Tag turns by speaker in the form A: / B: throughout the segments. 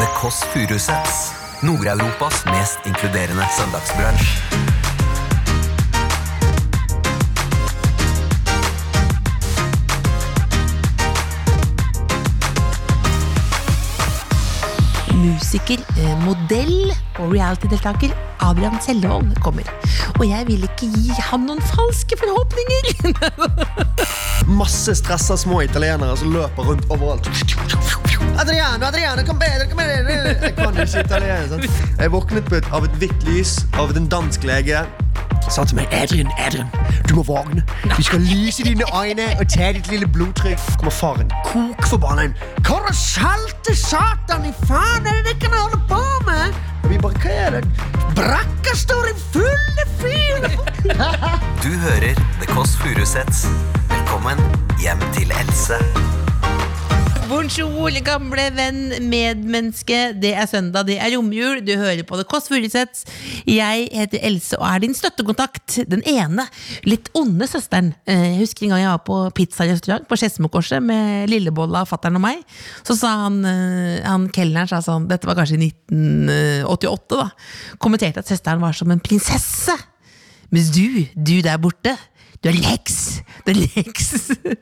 A: The Kåss Furuseths. Nord-Europas mest inkluderende søndagsbransj.
B: musiker, eh, modell og reality-deltaker Adrian Sellevold kommer. Og jeg vil ikke gi han noen falske forhåpninger!
C: Masse stressa små italienere som løper rundt overalt. Adriano, Adriano, kom bedre, kom bedre Jeg kan ikke italiener. sant? Jeg våknet på et, av et hvitt lys av en dansk lege. Sa til meg Adrian, Adrian, du må våkne. Vi skal lyse dine øyne og ta ditt lille blodtrykk. Kommer faren kokforbanna inn. Hva er det salte satan i faen er det dere holder på med? Og vi bare, hva er det? Brakka står i fulle fyr!
A: Du hører The Kåss Furuseths. Velkommen hjem til Else.
B: Bonjour, gamle venn, medmenneske. Det er søndag, det er romjul. Du hører på det Kåss Furuseth. Jeg heter Else og er din støttekontakt. Den ene litt onde søsteren. Eh, Jeg husker en gang jeg var på pizzarestaurant på Skedsmokorset med lillebolla, fattern og meg. Så sa han, eh, han kelneren sa sånn, dette var kanskje i 1988, da. Kommenterte at søsteren var som en prinsesse. Mens du, du der borte, du er Lex! Du er Lex! Det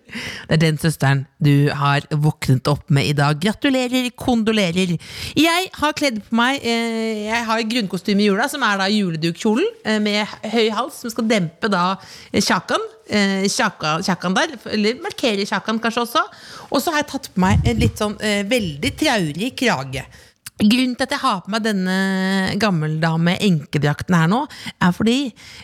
B: er den søsteren du har våknet opp med i dag. Gratulerer, kondolerer. Jeg har kledd på meg eh, Jeg har grunnkostyme i jula, som er da juledukkkjolen eh, med høy hals, som skal dempe da eh, kjakan. Eh, kjaka, kjakan der, eller markere kjakan kanskje også. Og så har jeg tatt på meg en litt sånn eh, veldig traurig krage. Grunnen til at jeg har på meg denne gammeldame-enkedrakten her nå, er fordi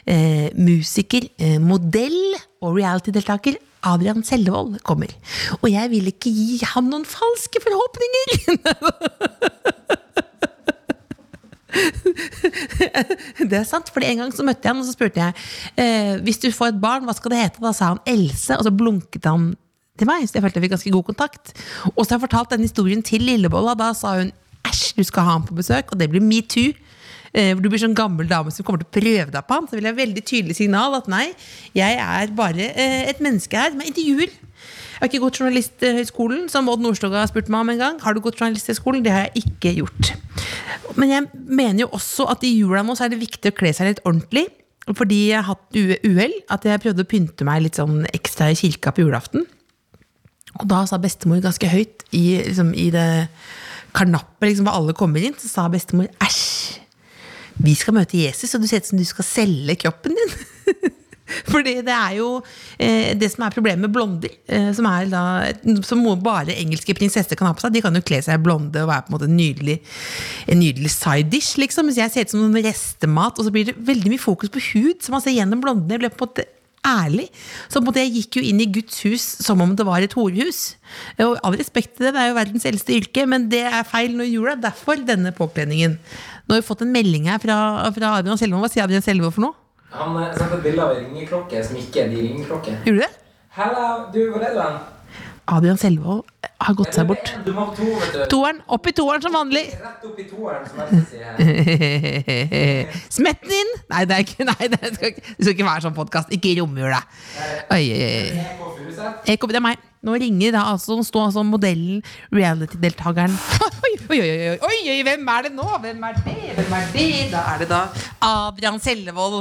B: eh, musiker, eh, modell og reality-deltaker Adrian Sellevold kommer. Og jeg vil ikke gi ham noen falske forhåpninger! Det er sant, fordi En gang så møtte jeg han, og så spurte jeg eh, hvis du får et barn, hva skal det hete. Da sa han Else, og så blunket han til meg. Så jeg følte vi fikk ganske god kontakt. Og så har jeg fortalt den historien til Lillebolla. Da sa hun æsj, du skal ha ham på besøk, og det blir metoo. Eh, hvor du blir sånn gammel dame som kommer til å prøve deg på han. Så vil jeg ha veldig tydelig signal at nei, jeg er bare eh, et menneske her med intervjuer. Jeg har ikke gått journalisthøyskolen, som Odd Nordstoga har spurt meg om en gang. Har du gått journalisthøyskolen? Det har jeg ikke gjort. Men jeg mener jo også at i jula nå så er det viktig å kle seg litt ordentlig. Fordi jeg har hatt u- uhell. At jeg prøvde å pynte meg litt sånn ekstra i kirka på julaften. Og da sa bestemor ganske høyt i, liksom, i det karnappet liksom, hvor alle kommer inn, så sa bestemor æsj, vi skal møte Jesus, og du ser ut som du skal selge kroppen din. Fordi det er jo eh, det som er problemet med blonder, eh, som, er da, som må bare engelske prinsesser kan ha på seg. De kan jo kle seg blonde og være på en måte en nydelig, en nydelig side dish. Liksom. Mens jeg ser ut som noen restemat, og så blir det veldig mye fokus på hud, så man ser gjennom blondene. Jeg ble på en måte ærlig. Så på en måte jeg gikk jo inn i Guds hus som om det var et horehus. Og all respekt til det, det er jo verdens eldste yrke, men det er feil når jula. Derfor denne påkledningen. Nå har vi fått en melding her fra, fra Adrian Selvold. Hva sier Adrian Selvold for noe?
D: Han eh, sendte et bilde av en ringeklokke som ikke er de ringeklokkene.
B: Gjorde du det?
D: Hello, du, hvor er du hen?
B: Adrian Selvold eh, har gått seg bort.
D: Du må på to, vet du.
B: Toeren. Opp i toeren som vanlig.
D: Rett opp i toeren, som jeg skal si her.
B: Smett den inn! Nei, det er ikke, nei, det skal ikke, det skal ikke være sånn podkast. Ikke i romjula. Oi, oi, oi.
D: Jeg går for huset.
B: Jeg kommer, Eh, det er meg. Nå ringer da altså, stå altså modellen, reality-deltakeren. Oi, oi, oi, oi, oi, oi, hvem er det nå? Hvem er det? Hvem er det? Da er det da Adrian Sellevold.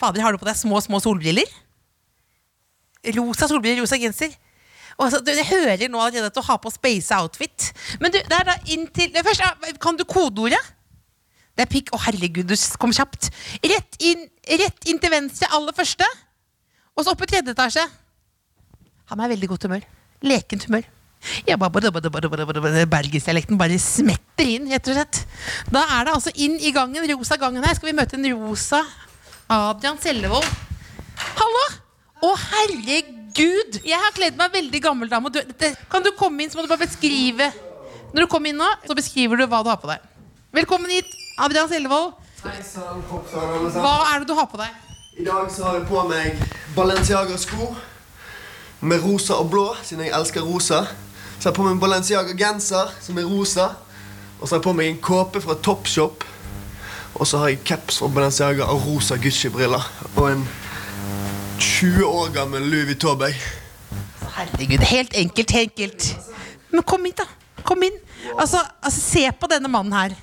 B: Fader, har du på deg små, små solbriller? Rosa solbriller, rosa genser. Og Altså, du, jeg hører nå allerede at du har på space outfit. Men du, det er da inntil det Først, ja, kan du kodeordet? Det er pikk. Å, herregud, du s- kom kjapt. Rett inn, rett inn til venstre, aller første. Og så opp i tredje etasje. Han er i veldig godt humør. Lekent humør. Ja, ba- ba- ba- ba- ba- ba- ba- ba- Bergensdialekten bare smetter inn, rett og slett. Da er det altså inn i gangen, rosa gangen her. Skal vi møte en rosa Adrian Sellevold. Hallo! Å, herregud! Jeg har kledd meg veldig gammel dame. og du- dette- Kan du komme inn, så må du bare beskrive Når du kommer inn nå, så beskriver du hva du har på deg. Velkommen hit, Adrian Sellevold.
C: Hei sann, kopp sann, alle sammen.
B: Hva er det du har på deg?
C: I dag så har jeg på meg Balenciaga-sko med rosa og blå, siden jeg elsker rosa. Så har jeg på meg en Balenciaga-genser som er rosa. Og så har jeg på meg en kåpe fra Topshop. Og så har jeg caps fra Balenciaga og rosa Gucci-briller. Og en 20 år gammel Louis Vuitton-bag.
B: Herregud, helt enkelt, helt enkelt. Men kom hit, da. Kom inn. Altså, altså, se på denne mannen her.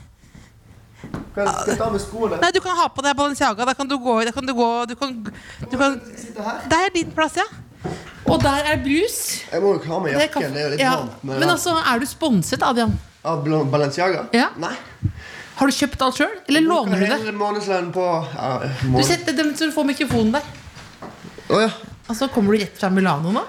C: Kan skal jeg ta med skoene?
B: Nei, du kan ha på deg Balenciaga. Da kan du gå, da kan du gå du kan, du kan,
C: Sitte her.
B: Der er din plass, ja. Og der er brus.
C: Jeg må jo ikke ha med
B: Det er
C: jakken. Det er jo litt
B: ja.
C: varmt. med
B: Men
C: den.
B: altså, er du sponset, Adrian?
C: Av Bal- Balenciaga?
B: Ja.
C: Nei.
B: Har du kjøpt alt sjøl, eller låner du det?
C: Hele månedslønnen på ja,
B: Du
C: måned.
B: setter dem så du får mikrofonen der.
C: Å, ja.
B: Altså, kommer du rett fra Milano nå?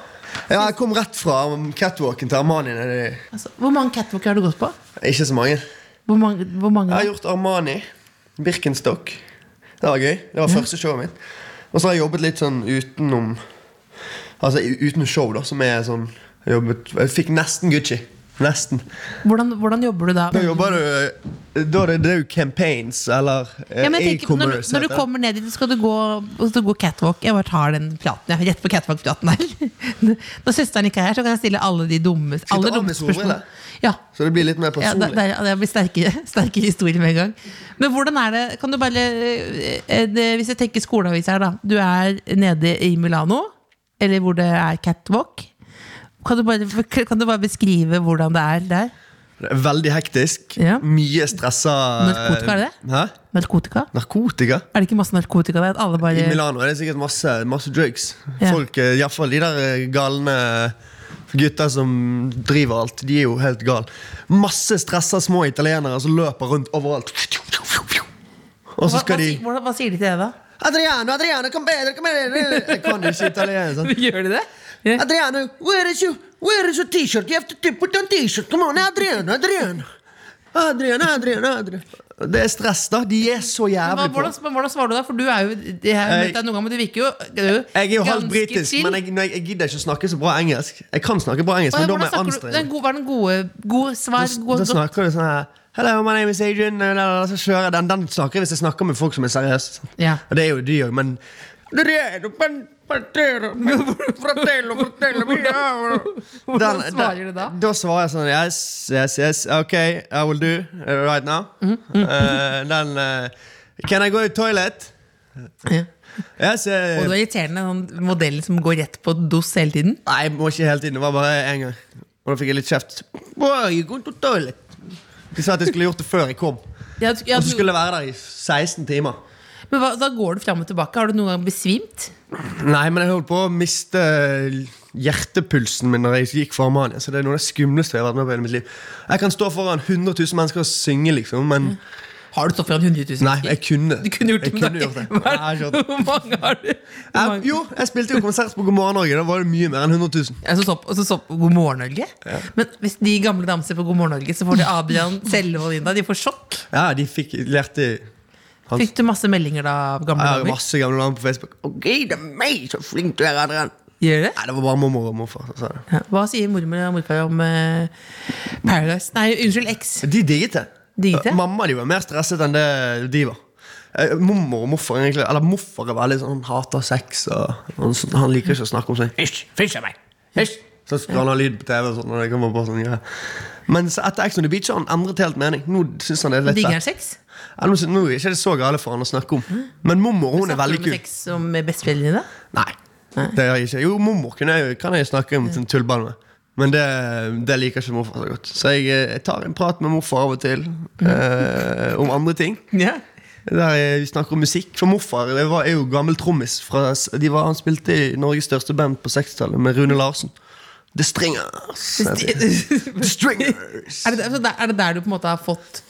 C: ja, jeg kom rett fra catwalken til Armani. Det er
B: Altså, hvor mange catwalker har du gått på?
C: ikke så mange.
B: Hvor mange, hvor mange
C: Jeg har gjort Armani, Birkenstock. Det var gøy. Det var første showet mitt. Og så har jeg jobbet litt sånn utenom Altså u- uten show, da, som er sånn jeg jobbet, Jeg fikk nesten Gucci. Nesten.
B: hvordan, hvordan jobber du da?
C: Da jobber du Da er det, det er jo campaigns, eller eh,
B: Ja, men jeg tenker, når,
C: e-commerce.
B: når du
C: heter det.
B: kommer ned dit, så skal du gå, og så gå catwalk. Jeg bare tar den praten. Jeg er rett på catwalk-praten der. Når søsteren ikke er her, så kan jeg stille alle de dumme, alle
C: av
B: dumme
C: med
B: spørsmålene.
C: solbriller?
B: Ja.
C: Så det blir litt mer
B: Ja, det,
C: personlig.
B: det, er- det blir sterkere, sterkere historier med en gang. Men hvordan er det Kan du bare eh, det- Hvis jeg tenker skoleavis her, da. Du er nede i Milano, eller hvor det er catwalk. Kan du bare, kan du bare beskrive hvordan det er der?
C: Det er Veldig hektisk.
B: Ja.
C: Mye stressa
B: Narkotika, er det det?
C: Hæ?
B: Narkotika?
C: Narkotika?
B: Er det ikke masse narkotika der? At alle bare
C: I Milano er det sikkert masse, masse drugs.
B: Ja.
C: Folk, eh, i hvert fall de der eh, galne gutta som driver alt, de er jo helt gale. Masse stressa små italienere som løper rundt overalt. Og så
B: hva, hva,
C: skal de
B: si- hvordan- hva sier de til deg da?
C: Adriano, Adriano, kom bedre, kom bedre! Jeg kan jo ikke italiensk. sant?
B: Gjør de det? Ja.
C: Adriano, where is your where is your t-shirt? You have to t- put on t-shirt. Come on, Adriano, Adriano. Adriano, Adriano, Adriano. Det er stress, da. De er så
B: Hva,
C: jævlig på.
B: hvordan, men hvordan svarer du da? For du er jo jeg har
C: Jeg-
B: møtt deg noen ganger, men du virker jo, du er jo
C: Jeg er jo halvt
B: ganske
C: britisk,
B: chill.
C: men jeg, når jeg, jeg gidder ikke å snakke så bra engelsk. Jeg kan snakke bra engelsk,
B: Å, ja,
C: men da må
B: hvordan
C: jeg
B: snakker du?
C: anstrenge
B: Den
C: meg.
B: gode, var den gode, gode svar?
C: Da,
B: Gode,
C: da snakker du sånn her Hello, my name is Adrian. la, la, la, Så kjører jeg den. Den snakker jeg hvis jeg snakker med folk som er seriøse. sant?
B: Ja.
C: Og det er jo de òg, men
B: hvordan
C: den-
B: svarer du da?
C: Da svarer jeg sånn Yes, yes, yes, ok, I will do uh, right now.
B: Mhm,
C: Eh, den eh, Can I go to toilet?
B: Ja.
C: Yes, eh,
B: Og du er irriterende en sånn modell som går rett på dos hele tiden.
C: Nei, jeg må ikke hele tiden. Det var bare én gang. Og da fikk jeg litt kjeft. Boy, you going to toilet? De sa at jeg skulle gjort det før jeg kom.
B: Ja, du- ja,
C: Og så
B: du-
C: skulle jeg være der i 16 timer.
B: men hva, da går du fram og tilbake. Har du noen gang besvimt?
C: Nei, men jeg holdt på å miste hjertepulsen min når jeg gikk fra Armania. Så det er noe av det skumleste jeg har vært med på i hele mitt liv. Jeg kan stå foran 100 000 mennesker og synge, liksom, men
B: Har du stått foran 100 000?
C: Nei, jeg kunne.
B: Du kunne gjort det,
C: Jeg
B: men
C: kunne
B: da-
C: gjort det.
B: Hva er-
C: Nei, jeg har ikke gjort
B: Hvor mange har du? Hvor
C: Eh,
B: mange?
C: jo, jeg spilte jo konsert på God morgen Norge. Da var det mye mer enn 100 000.
B: Jeg så så på, så så på altså, God morgen Norge. Men hvis de gamle damene ser på God morgen Norge, så får de Adrian, Selve og Linda. De får sjokk.
C: Ja, de fikk lærte Hans.
B: Fikk du masse meldinger da av gamle
C: ja,
B: damer?
C: masse gamle navn på Facebook. Å, gud, det er meg, så flink du er, Adrian.
B: Gjør det?
C: Nei, det var bare mormor og morfar. som sa det.
B: Ja. Hva sier mormor og morfar om eh, Paradise? Nei, unnskyld, X.
C: De digget det.
B: Digget det?
C: Eh, Mamma de var mer stresset enn det de var. Eh, Mormor og morfar egentlig Eller morfar er veldig sånn, han hater sex. Og, han, sånn- han liker ikke å snakke om seg. Hysj, fysj av meg! Hysj! Så skal han ha lyd på TV. Og sånn, og det kommer bare sånn greier. Men så etter Ex on the Beach har han endret helt mening. Nå synes han det er litt
B: Digger
C: fett.
B: han sex?
C: Ja, Nå sy- nå er ikke det så gale for han å snakke om. Men mormor hun er
B: Snakker
C: veldig
B: du om
C: kul.
B: sex som med besteforeldrene dine?
C: Nei, det gjør jeg ikke. Jo, mormor kan jeg, jo- kan jeg snakke om sånn tullball med. Men det, det liker ikke morfar så godt. Så jeg, eh, jeg tar en prat med morfar av og til eh, om andre ting.
B: Ja.
C: Der eh, vi snakker om musikk. For morfar det var, er jo gammel trommis. Fra, s- de var, han spilte i Norges største band på 60-tallet med Rune Larsen. The Stringers. heter de.
B: er,
C: Sånn The Stringers.
B: det, der- så der- er det der du på en måte har fått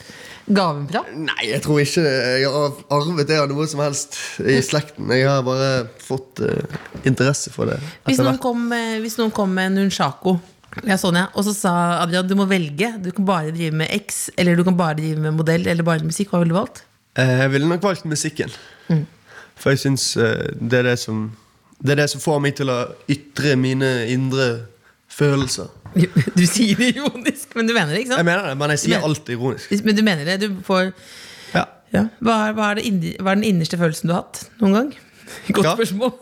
B: gaven fra?
C: Nei, jeg tror ikke jeg har arvet det av noe som helst i slekten. Jeg har bare fått eh, interesse for det.
B: Hvis
C: etter
B: noen,
C: hvert.
B: kom, eh, hvis noen kom med en nunchako ja, sånn, ja. Og så sa Adrian du må velge. Du kan bare drive med X, eller du kan bare drive med modell, eller bare musikk. Hva ville du valgt?
C: Eh, Jeg ville nok valgt musikken.
B: Mm.
C: For jeg syns eh, det er det som Det er det som får meg til å ytre mine indre følelser.
B: Du sier det ironisk, men du mener det, ikke
C: Jeg
B: sant?
C: mener det, men jeg sier
B: Men-
C: alt ironisk.
B: Hvis- Men du mener det, du får
C: Ja.
B: ja. hva, er, hva, er det inni, hva er den innerste følelsen du har hatt noen gang? Godt
C: Ja.
B: spørsmål.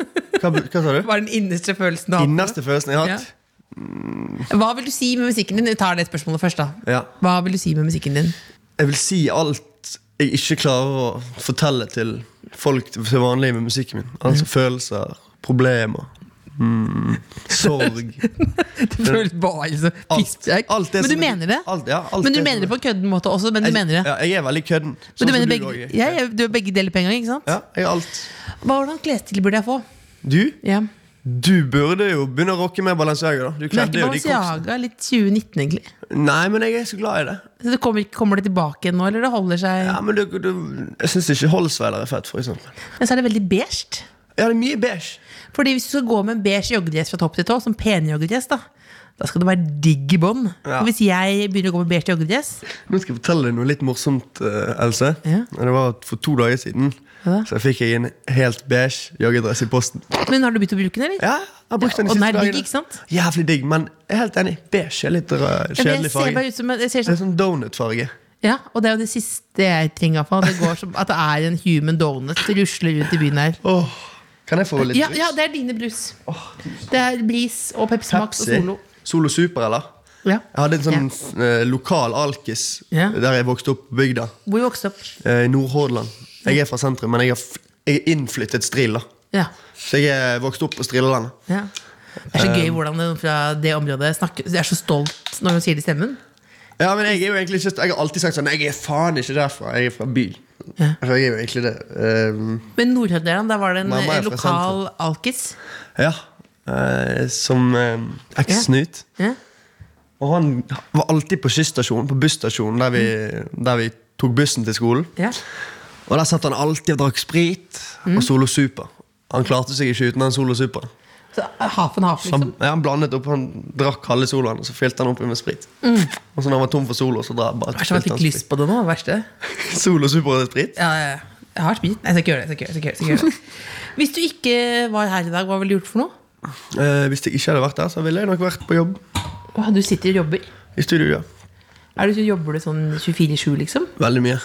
C: Hva, hva sa du?
B: Hva er den innerste følelsen du har hatt?
C: Innerste følelsen jeg har hatt?
B: Hva vil du si med musikken din? Vi tar det spørsmålet først, da.
C: Ja.
B: Hva vil du si med musikken din?
C: Jeg vil si alt jeg ikke klarer å fortelle til folk til vanlig med musikken min. Altså følelser, problemer, Sorg.
B: Det føles bare liksom, pisspreik.
C: alt
B: Men
C: det
B: du
C: som-
B: mener det?
C: alt- ja, alt
B: men du
C: det
B: mener
C: som-
B: det på en kødden måte også, men du
C: Jeg-
B: mener det?
C: Ja, jeg er veldig kødden.
B: Men
C: Sånn
B: du
C: som
B: mener
C: du
B: begge,
C: også er.
B: ja, ja, du er begge deler på en gang, ikke sant?
C: Ja, jeg er alt.
B: Hva Hvordan klesstil burde jeg få?
C: Du,
B: Ja.
C: du burde jo begynne å rocke med Balenciaga, da. Du
B: Men er
C: kledde
B: ikke
C: jo de korpsene.
B: Balenciaga litt 2019, egentlig?
C: Nei, men jeg er så glad i det.
B: Så det kommer, ikke- kommer det tilbake igjen nå, eller det holder seg
C: Ja, men du, du, Jeg syns ikke Holsweiler er fett, for eksempel.
B: Men så er det veldig beige.
C: Ja, det er mye beige.
B: Fordi hvis du skal gå med en beige joggedress fra topp til tå, som pen joggedress, da da skal det være digg i bånd.
C: Ja.
B: For Hvis jeg begynner å gå med beige joggedress
C: Nå skal jeg fortelle deg noe litt morsomt, eh, Else.
B: Ja.
C: Det var at For to dager siden
B: Ja.
C: Så fikk jeg en helt beige joggedress i posten.
B: Men har du begynt å bruke den, eller?
C: Ja, jeg har brukt den de
B: og den
C: siste
B: er digg,
C: dagene.
B: ikke sant?
C: Jævlig digg, men jeg er helt enig. Beige er litt rød,
B: Ja, men
C: kjedelig
B: jeg ser
C: farge.
B: bare ut som, jeg ser
C: Det er
B: sånn,
C: sånn donutfarge.
B: ja, og det er jo det siste jeg trenger. i hvert fall. Det går som at det er en human donut som rusler rundt i byen her.
C: Åh, kan jeg få litt
B: Ja,
C: brus?
B: ja, det er dine brus. Det er Bris og Pepsi Max og
C: Pepsi.
B: Solo.
C: Solo Super, eller?
B: Ja.
C: Jeg hadde en sånn eh, lokal alkis
B: Ja.
C: der jeg vokste opp på bygda.
B: Hvor vi vokste opp.
C: eh, I Nordhordland. Jeg er fra sentrum, men jeg er, f jeg er innflyttet Stril. da
B: Ja.
C: Så jeg er vokst opp på Strillalandet.
B: ja. Det er så
C: Um,
B: gøy hvordan noen fra det området snakker. Jeg er så stolt når hun sier det i stemmen.
C: Ja, men jeg er jo egentlig ikke Jeg har alltid sagt sånn Jeg er faen ikke derfra, jeg er fra byen.
B: Ja.
C: Så jeg er jo egentlig det. Ehm,
B: Men Nordhordland, der var det en
C: Mamma er
B: eh,
C: fra
B: lokal alkis.
C: ja. Eh, som eh, ekssnut.
B: Ja.
C: Og han var alltid på skysstasjonen, på busstasjonen, der vi, der vi tok bussen til skolen.
B: Ja.
C: Og der satt han alltid og drakk sprit
B: Mm.
C: og Solo Super. Han klarte seg ikke uten den Solo Super.
B: Så half and half,
C: Så han,
B: liksom.
C: ja, han blandet opp, han drakk halve soloen, og så fylte han oppi med sprit. Og så når han var tom for solo, så dra, bare
B: Verst at jeg
C: fylte han
B: Mm. fikk lyst på det nå. det Verste.
C: sprit. Solo super og sprit?
B: Ja, ja, ja. Jeg har sprit. Nei, jeg skal ikke gjøre det. Jeg skal ikke gjøre det, jeg skal ikke gjøre det. Hvis du ikke var her i dag, hva ville du gjort for noe?
C: Eh, hvis jeg ikke hadde vært der, så ville jeg nok vært på jobb.
B: Åh, Du sitter og jobber.
C: I studio, ja.
B: Er du, jobber du sånn 24-7, liksom?
C: Veldig mye.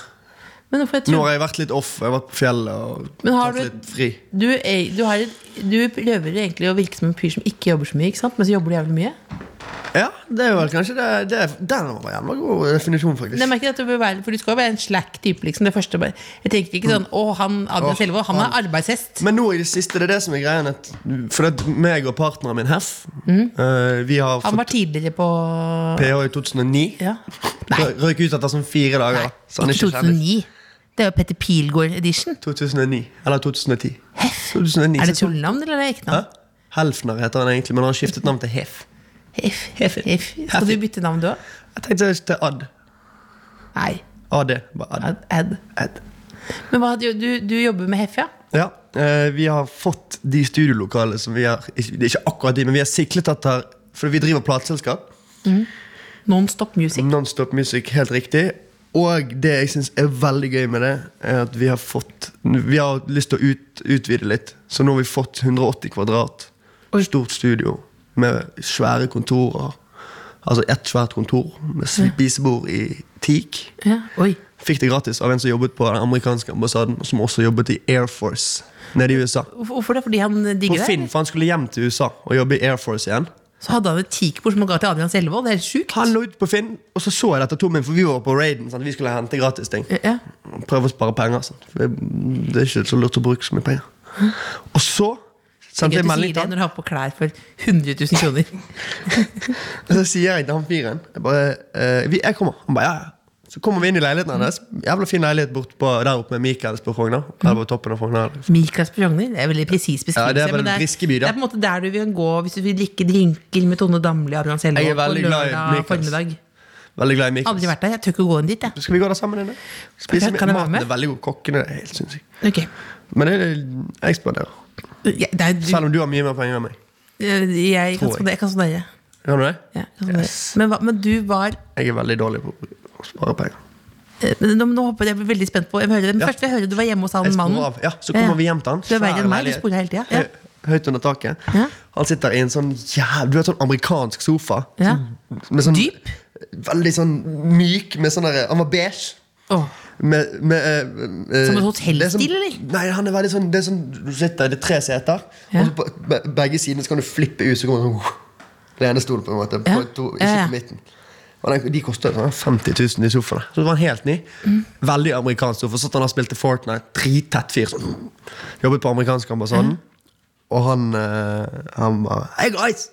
B: Men, hvorfor jeg
C: Nå
B: tror,
C: har jeg vært litt off. Jeg har vært på fjellet og
B: Men har
C: tatt
B: du-
C: litt fri.
B: du, er, du, har, et- du prøver egentlig å virke som en fyr som ikke jobber så mye, ikke sant? men så jobber du jævlig mye.
C: Ja, det er vel kanskje det, det er, Den var jævla god definisjon,
B: Men jeg
C: faktisk.
B: merker at du, bør være, for du skal jo være en slack type. liksom det første bare- Jeg tenker ikke sånn Å, han Adrian
C: Åh,
B: Selvold, han er
C: han-
B: arbeidshest.
C: Men nå i det siste, det er det som er greien. At, for det at meg og partneren min, Hef,
B: Mhm.
C: eh, vi har
B: Han
C: fått
B: var tidligere på
C: PH i 2009.
B: Ja.
C: Rø- Røyk ut etter sånn fire dager. da. Så han er
B: Ikke
C: ikke
B: 2009.
C: kjendis.
B: Det er jo Petter Pilgaard-edition.
C: 2009. Eller 2010. Hef? 2009,
B: Er det
C: så-
B: tullnavn eller er det ekte navn?
C: Hæ? Helfner heter han egentlig, men han har skiftet navn til Hef.
B: Hef, hef, hef. Skal du bytte navn, du òg?
C: Jeg tenkte til Ad.
B: Nei.
C: AD. Bare Ad.
B: Ad. Ad.
C: Ad.
B: Men hva, du, du, du jobber med hef, ja?
C: Ja, eh, vi har fått de studiolokalene som vi har Det er ikke akkurat de, men vi har siklet etter For vi driver plateselskap.
B: Nonstop Music.
C: Nonstop Music, helt riktig. Og det jeg syns er veldig gøy med det, er at vi har fått Vi har lyst til å ut, utvide litt. Så nå har vi fått 180 kvadrat. Stort studio med svære kontorer. Altså ett svært kontor med spisebord i teak.
B: Ja. Oi.
C: Fikk det gratis av en som jobbet på den amerikanske ambassaden, og som også jobbet i Air Force nede i USA.
B: Hvorfor hvorfor det? Fordi han
C: På
B: digger
C: Finn,
B: det?
C: for han skulle hjem til USA og jobbe i Air Force igjen.
B: Så hadde han et teakbord som han ga til Adrian Selvold. Det er helt sjukt.
C: Han lå ute på Finn, og så så jeg dette tommen, for vi var på raiden. Sant? Vi skulle hente gratis ting.
B: Ja.
C: Prøve å spare penger. Sant? For det det er ikke så lurt å bruke så mye penger. Og så
B: Gøy at
C: sendte jeg
B: du sier
C: melding
B: det
C: til
B: når
C: han.
B: du har på klær for 100 000 kroner.
C: Og så sier jeg til han fyren Jeg bare eh, vi, Jeg kommer. Han bare ja, ja. Så kommer vi inn i leiligheten
B: Mm.
C: hans. Jævla fin leilighet bort på, der oppe med Michaels på Frogner.
B: Mm.
C: Eller på toppen av Frogner.
B: Michaels på Frogner. Det er en veldig presis
C: Ja,
B: beskrivelse.
C: det er vel
B: men
C: en Briskeby, da.
B: det er på en måte der du vil gå hvis du vil drikke drinker med Tone Damli og Adrian
C: Jeg er
B: Selvold på
C: veldig glad i
B: lørdag
C: Michaels.
B: formiddag.
C: Veldig glad i
B: Aldri
C: Michaels.
B: vært der. Jeg tør ikke gå inn dit, jeg.
C: Skal vi gå der sammen? Inne? Spise
B: Ja, kan jeg være
C: maten
B: med?
C: er veldig god. Kokkene er helt sinnssyke.
B: Ok.
C: Men det er jeg spanderer.
B: Ja, det er, du,
C: Selv om du har mye mer penger enn meg.
B: jeg, kan
C: Tror jeg.
B: spandere, jeg kan spandere.
C: Gjør du det?
B: Ja, jeg kan spandere. Men, hva- men du var
C: Jeg er veldig dårlig på å spare penger.
B: eh, men Nå, nå hopper jeg jeg blir veldig spent på jeg vil høre det. Men
C: Ja.
B: Først vil jeg høre du var hjemme hos han
C: Jeg sporer
B: mannen.
C: av. Ja, så kommer
B: Ja.
C: vi hjem til han.
B: Du er verre
C: Svær
B: enn meg, du
C: leilighet.
B: sporer hele tiden. Ja.
C: Hø- Høyt under taket.
B: Ja.
C: Han sitter i en sånn jæv... Du vet, sånn amerikansk sofa.
B: Ja.
C: Sånn- med sånn-
B: Dyp?
C: Veldig sånn myk. Med sånn derre- Han var beige.
B: Åh,
C: Med, med, eh, eh,
B: Som en
C: det er sånn-
B: hotellstil, eller?
C: Nei, han er veldig sånn, det er sånn Du sitter, det er tre seter,
B: Ja.
C: og så på be- begge sidene så kan du flippe ut. Så kommer det sånn lenestol, på en måte.
B: Ja.
C: På to, ikke
B: Ja, ja.
C: på midten. Og den, de koster sånn 50 000 i sofaen. Så det var en helt ny. Veldig amerikansk sofa. Satt han og spilte Fortnite. Drittett fyr. Sånn. Jobbet på amerikansk ambassaden. Og han, eh, han bare Hei, guys!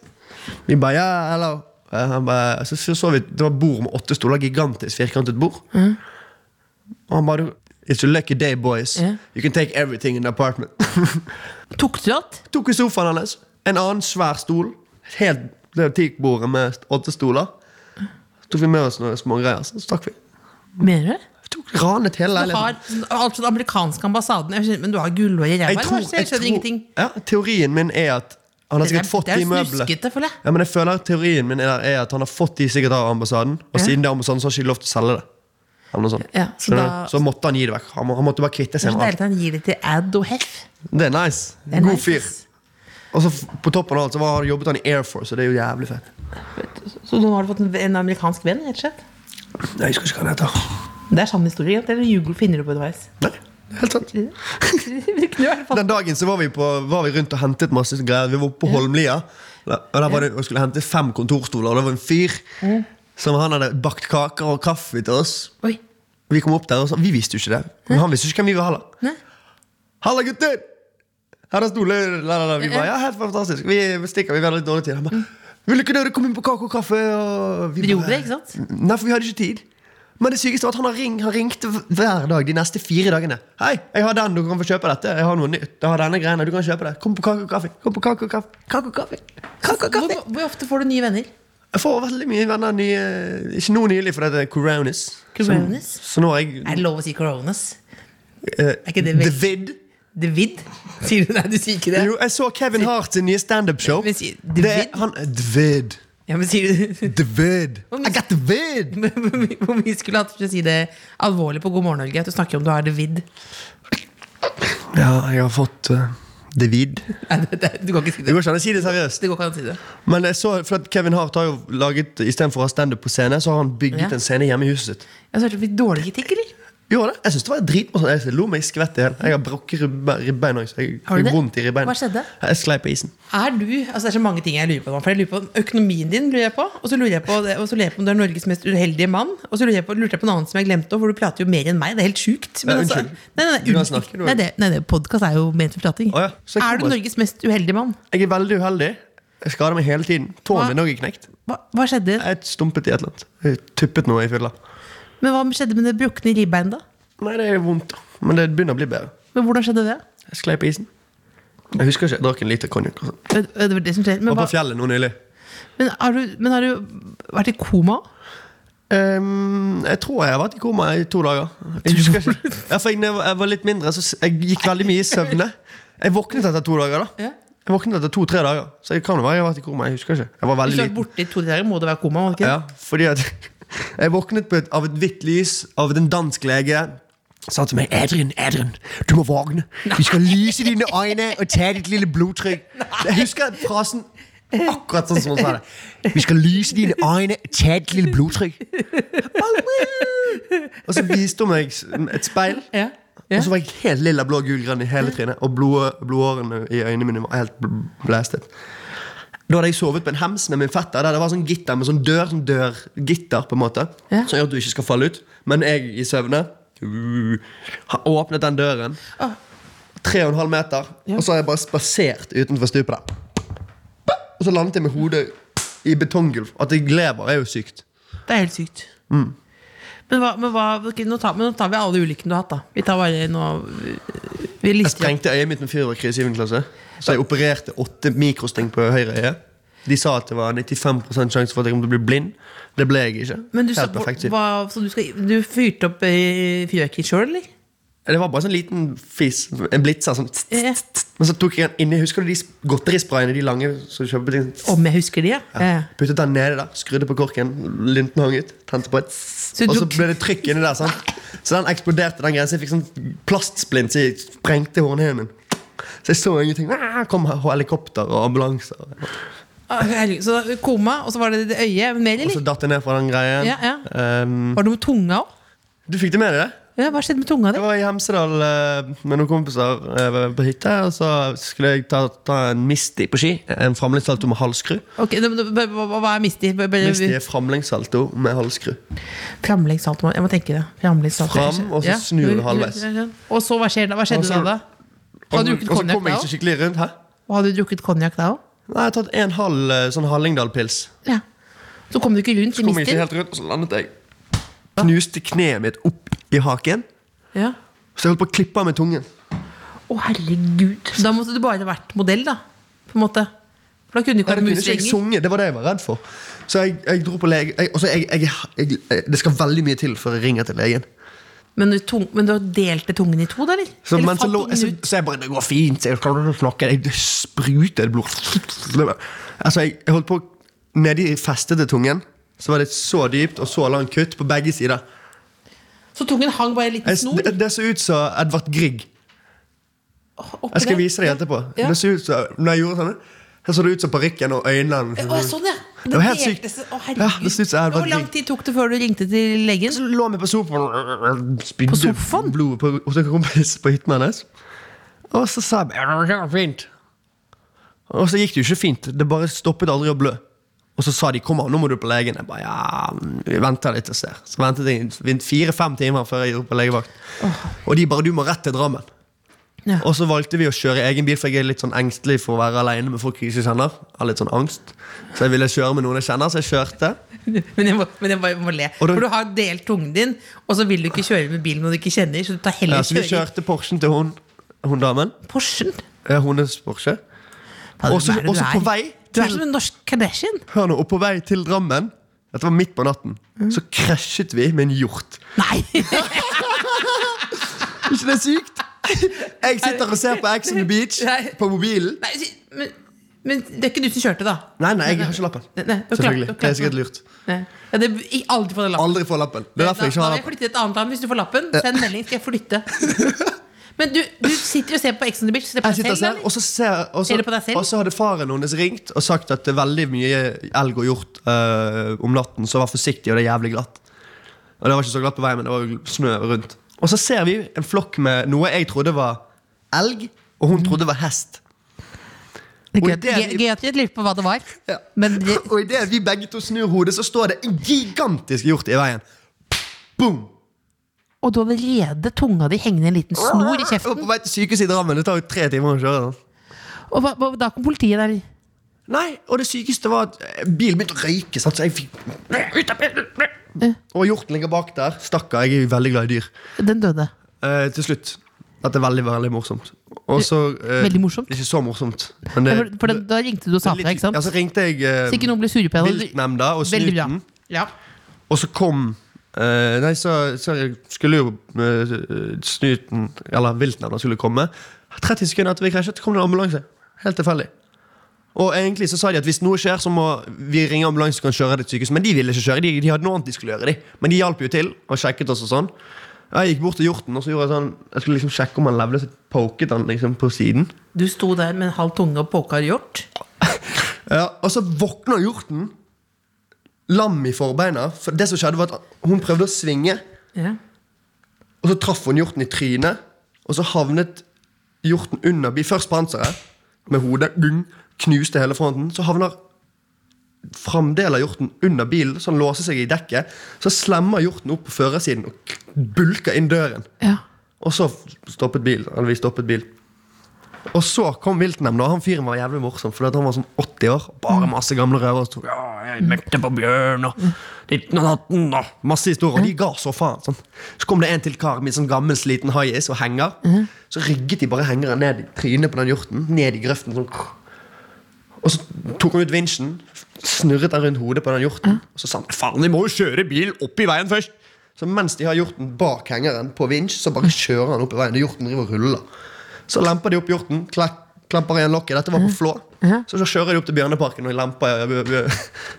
C: Vi bare Ja, hello. Eh, Han bare, så, så så vi, Det var bord med åtte stoler. Gigantisk firkantet bord. Og han bare It's a lucky day, boys.
B: Ja.
C: You can take everything in the apartment.
B: Tok du alt?
C: Tok vi sofaen hans. En annen svær stol. Helt det teakbordet med åtte stoler. Så tok vi med oss noen små greier, så stakk vi.
B: Mener du?
C: Vi tok ranet hele
B: Du
C: leiligheten.
B: har sånn- alt fra den amerikanske ambassaden jeg skjønner- Men du har gullhår i ræva?
C: Jeg
B: eller
C: tror-
B: hva? Jeg
C: jeg tror-
B: skjønner ingenting.
C: ja, Teorien min er at han
B: Det
C: har
B: er-
C: sikkert fått
B: det er
C: de møblene.
B: snuskete, føler jeg.
C: Ja, men jeg føler at teorien min er, er at han har fått de sikkert av ambassaden,
B: Ja.
C: og siden det er ambassaden, så har ikke de lov til å selge det. Eller noe sånt.
B: Ja, så
C: så,
B: da-
C: så måtte han gi det vekk. Han, må, han måtte bare kvitte
B: Det
C: seg
B: er så
C: med
B: deilig
C: alt.
B: at han gir det til Ad og Hef.
C: Det er nice.
B: Det er
C: God
B: nice.
C: fyr. Og så f- på toppen av alt så var, jobbet han i Air Force, og det er jo jævlig fett.
B: Så nå har du fått en, en amerikansk venn? rett og slett
C: Nei, jeg husker ikke hva han heter.
B: Det er sann historie. Det er jugel finner du på underveis.
C: Nei, helt sant.
B: Tror du det? Det kunne vært fant-
C: Den dagen så var vi, på, var vi rundt og hentet masse greier. Vi var oppe på Holmlia. Og der var det, og skulle hente fem kontorstoler, og det var en fyr som han hadde bakt kaker og kaffe til oss.
B: Oi,
C: Vi kom opp der, og så, vi visste jo ikke det. Men han visste jo ikke hvem vi var heller.
B: Nei.
C: Halla, gutter! Her er stoler! La, la, la. Vi bare, ja, helt fantastisk. Vi stikker, vi har litt dårlig tid. Han bare, vil ikke dere komme inn på kake og kaffe? Og
B: Vi gjorde det, ikke sant?
C: Nei, for vi hadde ikke tid. Men det sykeste var at han har ring, han ringte hver dag de neste fire dagene. 'Hei, jeg har den, du kan få kjøpe dette.' 'Jeg har noe nytt.' 'Jeg har denne greiene, du kan kjøpe det.' 'Kom på kake og kaffe.' Kom på kake og kaffe. Kake og kaffe. Kake og
B: Hvor,
C: kaffe.
B: hvor ofte får du nye venner?
C: Jeg får veldig mye venner nye Ikke nå nylig, for det er coronis.
B: Coronis?
C: Så, så nå har jeg
B: Er det lov å si coronas?
C: eh,
B: Er ikke det veldig-
C: David.
B: David? Sier du nei, du sier ikke det?
C: Jo, jeg så Kevin Hart sin nye standup-show.
B: Men si-
C: Det er-
B: David?
C: han- David.
B: Ja, men sier du
C: David.
B: Hvor
C: I
B: mye-
C: got David!
B: Hvor mye- hvor mye skulle hatt for å si det alvorlig på God morgen Norge? At du snakker om du har David.
C: Ja, jeg har fått eh, David.
B: Nei, det, det, du kan ikke si
C: Det
B: det.
C: går ikke an å si det seriøst.
B: Det går ikke an å si det.
C: Men jeg så, for at Kevin Hart har jo laget Istedenfor å ha standup på scene, så har han bygget
B: Ja.
C: en scene hjemme i huset sitt.
B: Jeg hørte du fikk dårlig kritikk, eller?
C: Gjorde det? Jeg synes det var dritmorsomt. Jeg lo meg skvett i hjel. Jeg har brukket ribbe- ribbeina også. Jeg
B: Har du
C: fikk
B: det?
C: vondt i ribbeina.
B: Hva skjedde?
C: Jeg sklei på isen.
B: Er du, altså Det er så mange ting jeg lurer på. nå, For jeg lurer på Økonomien din lurer jeg på. Og så lurer jeg på, det- og så lurer jeg på om du er Norges mest uheldige mann. Og så lurer jeg på, lurte jeg på en annen som jeg glemte, for du prater jo mer enn meg. Det er helt sjukt.
C: Ja,
B: altså,
C: unnskyld.
B: nei, nei,
C: Du
B: nei,
C: kan
B: unnskyld.
C: snakke, du.
B: nei, det, nei, det podkast er jo ment for prating.
C: Å ja, så jeg
B: er du
C: kommer.
B: Norges mest uheldige mann?
C: Jeg er veldig uheldig. Jeg skader meg hele tiden. Tåen
B: Hva?
C: min også er knekt.
B: Hva, hva skjedde?
C: Jeg stumpet i et eller annet. Jeg tuppet noe i fylla.
B: Men hva skjedde med det brukne ribbeinet, da?
C: Nei, det er vondt, men det begynner å bli bedre.
B: Men hvordan skjedde det?
C: Jeg sklei på isen. Jeg husker ikke. Jeg drakk en liter konjakk. og sånn.
B: Det det var det som skjedde. Men,
C: Var på
B: hva,
C: fjellet nå nylig.
B: men, har du, men har du vært i koma?
C: Ehm, jeg tror jeg har vært i koma i to dager. Jeg husker ikke. Ja, for jeg, når jeg var- jeg var litt mindre, så s- jeg gikk veldig mye i søvne. Jeg våknet etter to dager, da.
B: Ja.
C: Jeg våknet etter to-tre dager, så jeg kan jo være jeg har vært i koma. Jeg husker ikke. Jeg var
B: Hvis
C: veldig
B: du har vært
C: liten.
B: borte i to dager, må det være koma? må det Ikke?
C: Ja, fordi at jeg våknet på et, av et hvitt lys av en dansk lege. Sa til meg Adrian, Adrian, du må våkne. Vi skal lyse dine øyne og ta ditt lille blodtrykk. Jeg husker frasen akkurat sånn som hun sa det. Vi skal lyse dine øyne og ta ditt lille blodtrykk. Og så viste hun meg s- et speil.
B: Ja. Ja.
C: Og så var jeg helt lilla, blå, gul, grønn i hele trynet. Og blod, blodårene i øynene mine var helt bl- blæstet. Da hadde jeg sovet på en hems med min fetter. Der det var sånn gitter med sånn dør, sånn dørgitter, på en måte.
B: Ja.
C: Som gjør at du ikke skal falle ut. Men jeg i søvne uh, har åpnet den døren.
B: Ah.
C: Tre og en halv meter. Og så har jeg bare spasert utenfor stupet der. Og så landet jeg med hodet i betonggulv. At jeg lever, er jo sykt.
B: Det er helt sykt.
C: Mm.
B: Men, hva, men, hva, ok, nå tar, men nå tar vi alle ulykkene du har hatt, da. Vi tar bare nå Vi
C: Jeg
B: lister opp.
C: sprengte øyet mitt med fyrverkeri i 7. klasse. Så jeg opererte åtte mikrosteng på høyre øye. De sa at det var 95 sjanse for at jeg kom til å bli blind. Det ble jeg ikke.
B: Men du, sa-
C: Helt perfekt
B: hva, så du, skal, du fyrte opp eh, fyrverkeri sjøl, eller?
C: Det var bare sånn liten fis. En blitzer. Sånn. tss,
B: Ja.
C: tss, tss. Men så tok jeg den inni. Husker du de sp- godterisprayene? De lange som du kjøper på ting? Tss.
B: Om jeg husker de, ja. Eh, ja. ja.
C: Puttet den nedi der, skrudde på korken, linten hang ut, tente på et
B: Så
C: tss,
B: du
C: Og så
B: tok-
C: ble det trykk inni der. Sant? Så den eksploderte, den greia. Så jeg fikk sånn plastsplint, så jeg sprengte hornhinnen min. Så jeg så ingenting. Ah, Kom helikopter og ambulanser.
B: Ah, herregud, Så koma, og så var det det øyet. Mer,
C: Og så
B: eller?
C: datt jeg ned fra den greien.
B: Ja, ja.
C: Ehm,
B: Var det med tunga òg?
C: du fikk det med deg? det?
B: Ja, hva skjedde med tunga
C: Jeg
B: di?
C: var i Hemsedal eh, med noen kompiser eh, på hytta. Og så skulle jeg ta, ta en Misti på ski. En framlengssalto med halvskru.
B: Ok, det- det- hva- hva, hva er misti? Bare- bare-
C: Misti er framlengssalto med halvskru.
B: Framleggssalto. Jeg må tenke det. Framleggssalto.
C: Fram, og så snur du halvveis.
B: Og så hva skjer da? Hva skjedde
C: Og
B: da?
C: så-
B: da? Har du
C: Og
B: drukket
C: så
B: konjakk
C: kom jeg
B: da
C: ikke
B: òg?
C: skikkelig rundt. Hæ?
B: Og hadde du drukket konjakk da òg?
C: Nei, jeg har tatt en halv eh, sånn Hallingdal-pils.
B: Ja. Så kom du ikke rundt i
C: Kom ikke
B: mister?
C: helt rundt, og så landet jeg. Knuste kneet mitt opp i haken.
B: Ja.
C: Så jeg holdt på å klippe av med tungen.
B: Å, herregud. Da måtte du bare vært modell, da. På en måte. For da kunne du ikke
C: Nei, det
B: vært
C: kunne ikke jeg
B: muslenger.
C: sunget, det var det jeg var redd for. Så jeg, jeg dro på lege jeg, altså, jeg, jeg, jeg, jeg, Det skal veldig mye til før jeg ringer til legen.
B: Men, du tung- men du delte tungen i to, da? eller?
C: Så,
B: eller
C: men så, altså-
B: falt
C: lå,
B: tungen
C: så,
B: ut?
C: så jeg bare Det går fint. Jeg klarer ikke å snakke. Jeg det spruter blod. Altså, jeg, jeg holdt på Nedi festet til tungen. Så var det et så dypt og så langt kutt på begge sider.
B: Så tungen hang bare i en liten
C: Jeg,
B: snor?
C: det, det så ut som Edvard Grieg.
B: oppi
C: Jeg skal
B: der.
C: vise deg etterpå.
B: Ja.
C: Det så ut som Når jeg gjorde sånn, så så det ut som parykken og øynene.
B: Å, sånn, ja.
C: Det var helt sykt.
B: delte seg. Å,
C: Ja, det ser ut som jeg har
B: herregud.
C: vært
B: Hvor lang
C: drink.
B: tid tok det før du ringte til legen?
C: Så lå vi på sofaen spydde
B: På sofaen?
C: blod på, hos en kompis på hytten hennes. Og så sa jeg «Ja, det går fint. Og så gikk det jo ikke fint. Det bare stoppet aldri å blø. Og så sa de 'kom an, nå må du på legen'. Jeg bare, ja, vi venter litt og ser Så ventet jeg en- fire-fem timer før jeg gjorde på legevakt. Og de bare 'du må rett til Drammen'.
B: Ja.
C: Og så valgte vi å kjøre egen bil, for jeg er litt sånn engstelig for å være aleine med folk jeg ikke kjenner. Jeg har litt sånn angst Så jeg ville kjøre med noen jeg kjenner, så jeg kjørte.
B: Men jeg må, men jeg bare må le.
C: Og da-
B: For du har delt tungen din, og så vil du ikke kjøre med bilen når du ikke kjenner, så du tar
C: Ja,
B: heller
C: så vi
B: kjøre
C: kjørte Porschen til hun, hun damen.
B: i Porschen.
C: Ja, hennes Porsche. Og så
B: Hva er det du
C: og så
B: er?
C: på vei
B: Du er
C: til
B: som en norsk Kardashian.
C: Hør nå, og på vei til Drammen Dette var midt på natten
B: Mm.
C: Så krasjet vi med en hjort
B: Nei!
C: Er ikke det sykt? Jeg sitter og ser på Ex on the Beach
B: Nei.
C: På mobilen
B: Nei si- men, men det er ikke du som kjørte, da?
C: Nei, nei, jeg har ikke lappen
B: Nei, nei, du har klart- du
C: Selvfølgelig,
B: har klart
C: det er sikkert lurt
B: Nei. Ja, det, jeg aldri får den lappen.
C: Aldri få lappen Det er derfor jeg ikke
B: da, da vil
C: har
B: jeg
C: lappen
B: flytte til et annet land. Hvis du får lappen, send melding, skal jeg flytte. Men du, du sitter og ser på Ex on the Beach. Ser på
C: jeg
B: deg
C: sitter og
B: selv,
C: ser,
B: eller?
C: og så ser og så,
B: Ser du på deg selv?
C: og så hadde faren hennes ringt og sagt at det er veldig mye elg og hjort eh, om natten, så vær forsiktig, og det er jævlig glatt. Og det var ikke så glatt på veien, men det var jo snø rundt. Og så ser vi en flokk med noe jeg trodde var elg, og hun trodde var hest.
B: Det er
C: Og
B: Gøy,
C: det er-
B: gøy- gøy at vi lurte på hva det var.
C: Ja.
B: Men det,
C: Og idet vi begge to snur hodet, så står det en gigantisk hjort i veien. Boom!
B: og du hadde allerede tunga di hengende i en liten snor i
C: Og
B: kjeften.
C: på vei til sykehuset i Drammen. Det tar jo tre timer å kjøre. sånn.
B: Og hva, hva, da kom politiet der.
C: Nei, og det sykeste var at eh, bilen begynte å røyke. Sant? Så jeg fikk ut av bilen. Og hjorten ligger bak der. Stakkar, jeg er jo veldig glad i dyr.
B: Den døde.
C: Eh, til slutt. Dette er veldig veldig morsomt. Og så eh,
B: Veldig morsomt?
C: Ikke så morsomt. Men
B: Ja, for for da, da ringte du og sa
C: litt-
B: fra, ikke sant?
C: Ja, så ringte jeg eh,
B: så ikke noen ble sure på deg.
C: viltnemnda og
B: Veldig bra.
C: snuten.
B: Ja.
C: Og så kom eh, Nei, så, så skulle jo eh, snuten Eller viltnemnda skulle komme. 30 sekunder etter vi krasjet, kom det en ambulanse. Helt tilfeldig. Og egentlig så sa de at hvis noe skjer, så må vi ringe ambulanse og kan kjøre deg til sykehus. Men de ville ikke kjøre. De, de hadde noe annet de skulle gjøre. De. Men de hjalp jo til og sjekket oss og sånn. Jeg gikk bort til hjorten og så gjorde jeg sånn Jeg skulle liksom sjekke om han levde, så poket han liksom på siden.
B: Du sto der med en halv tunge og poka hjort.
C: Ja, og så våkner hjorten lam i forbeina. For det som skjedde, var at hun prøvde å svinge.
B: Ja.
C: Og så traff hun hjorten i trynet, og så havnet hjorten under bi- Først panseret, med hodet, gung, knuste hele fronten. Så havner fremdeles hjorten under bilen, så han låser seg i dekket. Så slemmer hjorten opp på førersiden og k- bulker inn døren.
B: ja.
C: Og så f- stoppet bil, eller vi stoppet bil. Og så kom viltnemnda, og han fyren var jævlig morsom. Fordi at han var sånn 80 år, bare masse gamle røvere. som sto, Ja, jeg møtte på bjørn, og 1918, og masse historier. Og de ga så faen. Sånn. Så kom det en til kar med sånn gammel, sliten haiis og henger. Så rygget de bare hengeren ned i trynet på den hjorten, ned i grøften. sånn og så tok han ut vinsjen, snurret den rundt hodet på den hjorten. Og så sa han faen, de må jo kjøre bil opp i veien først. Så mens de har hjorten bak hengeren på vinsj, så bare kjører han opp i veien. Og hjorten driver og ruller. Så lemper de opp hjorten, klek- klemper igjen lokket. Dette var på Flå. Så, så kjører de opp til Bjørneparken og lemper eh, bjør- bjør-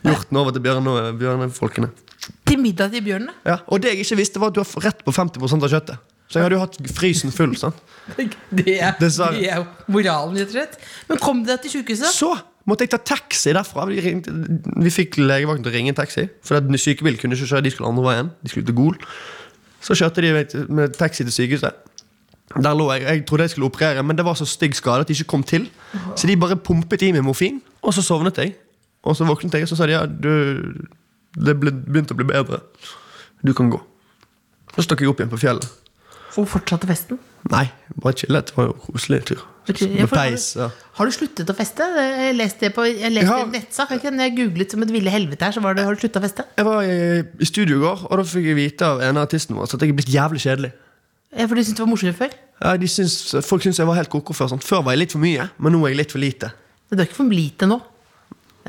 C: hjorten over til bjørne, bjørnefolkene.
B: Til middag til bjørnene.
C: Ja. Og det jeg ikke visste, var at du har rett på 50 av kjøttet. Så jeg hadde jo hatt frysen full. sant?
B: Det er,
C: Dessverre.
B: det er jo moralen, rett og slett. Men kom du deg til sjukehuset?
C: Så måtte jeg ta taxi derfra. Vi, ringte, vi fikk legevakten til å ringe en taxi. For at sykebil kunne ikke kjøre, de skulle andre veien. De skulle til Gol. Så kjørte de med, med taxi til sykehuset. Der lå jeg, jeg trodde jeg skulle operere, men det var så stygg skade at de ikke kom til. Så de bare pumpet i med morfin, og så sovnet jeg. Og så våknet jeg, og så sa de ja, du, det ble- begynte å bli bedre. Du kan gå. Så stakk jeg opp igjen på fjellet.
B: Og fortsatte festen.
C: Nei, bare chillet. Det var jo en koselig tur.
B: Jeg
C: Med
B: får-
C: peis. Ja.
B: Har du sluttet å feste? Jeg leste det på jeg leste
C: Ja.
B: en nettsak. ikke? Når jeg googlet som et ville helvete her, så var det Har du sluttet å feste?
C: Jeg var i, i studio i går, og da fikk jeg vite av en av artistene våre at jeg er blitt jævlig kjedelig.
B: Ja, For du syntes det var morsommere før?
C: Ja, de syns, folk syns jeg var helt koko før. Sant? Før var jeg litt for mye, men nå er jeg litt for lite.
B: Men du er ikke for lite nå?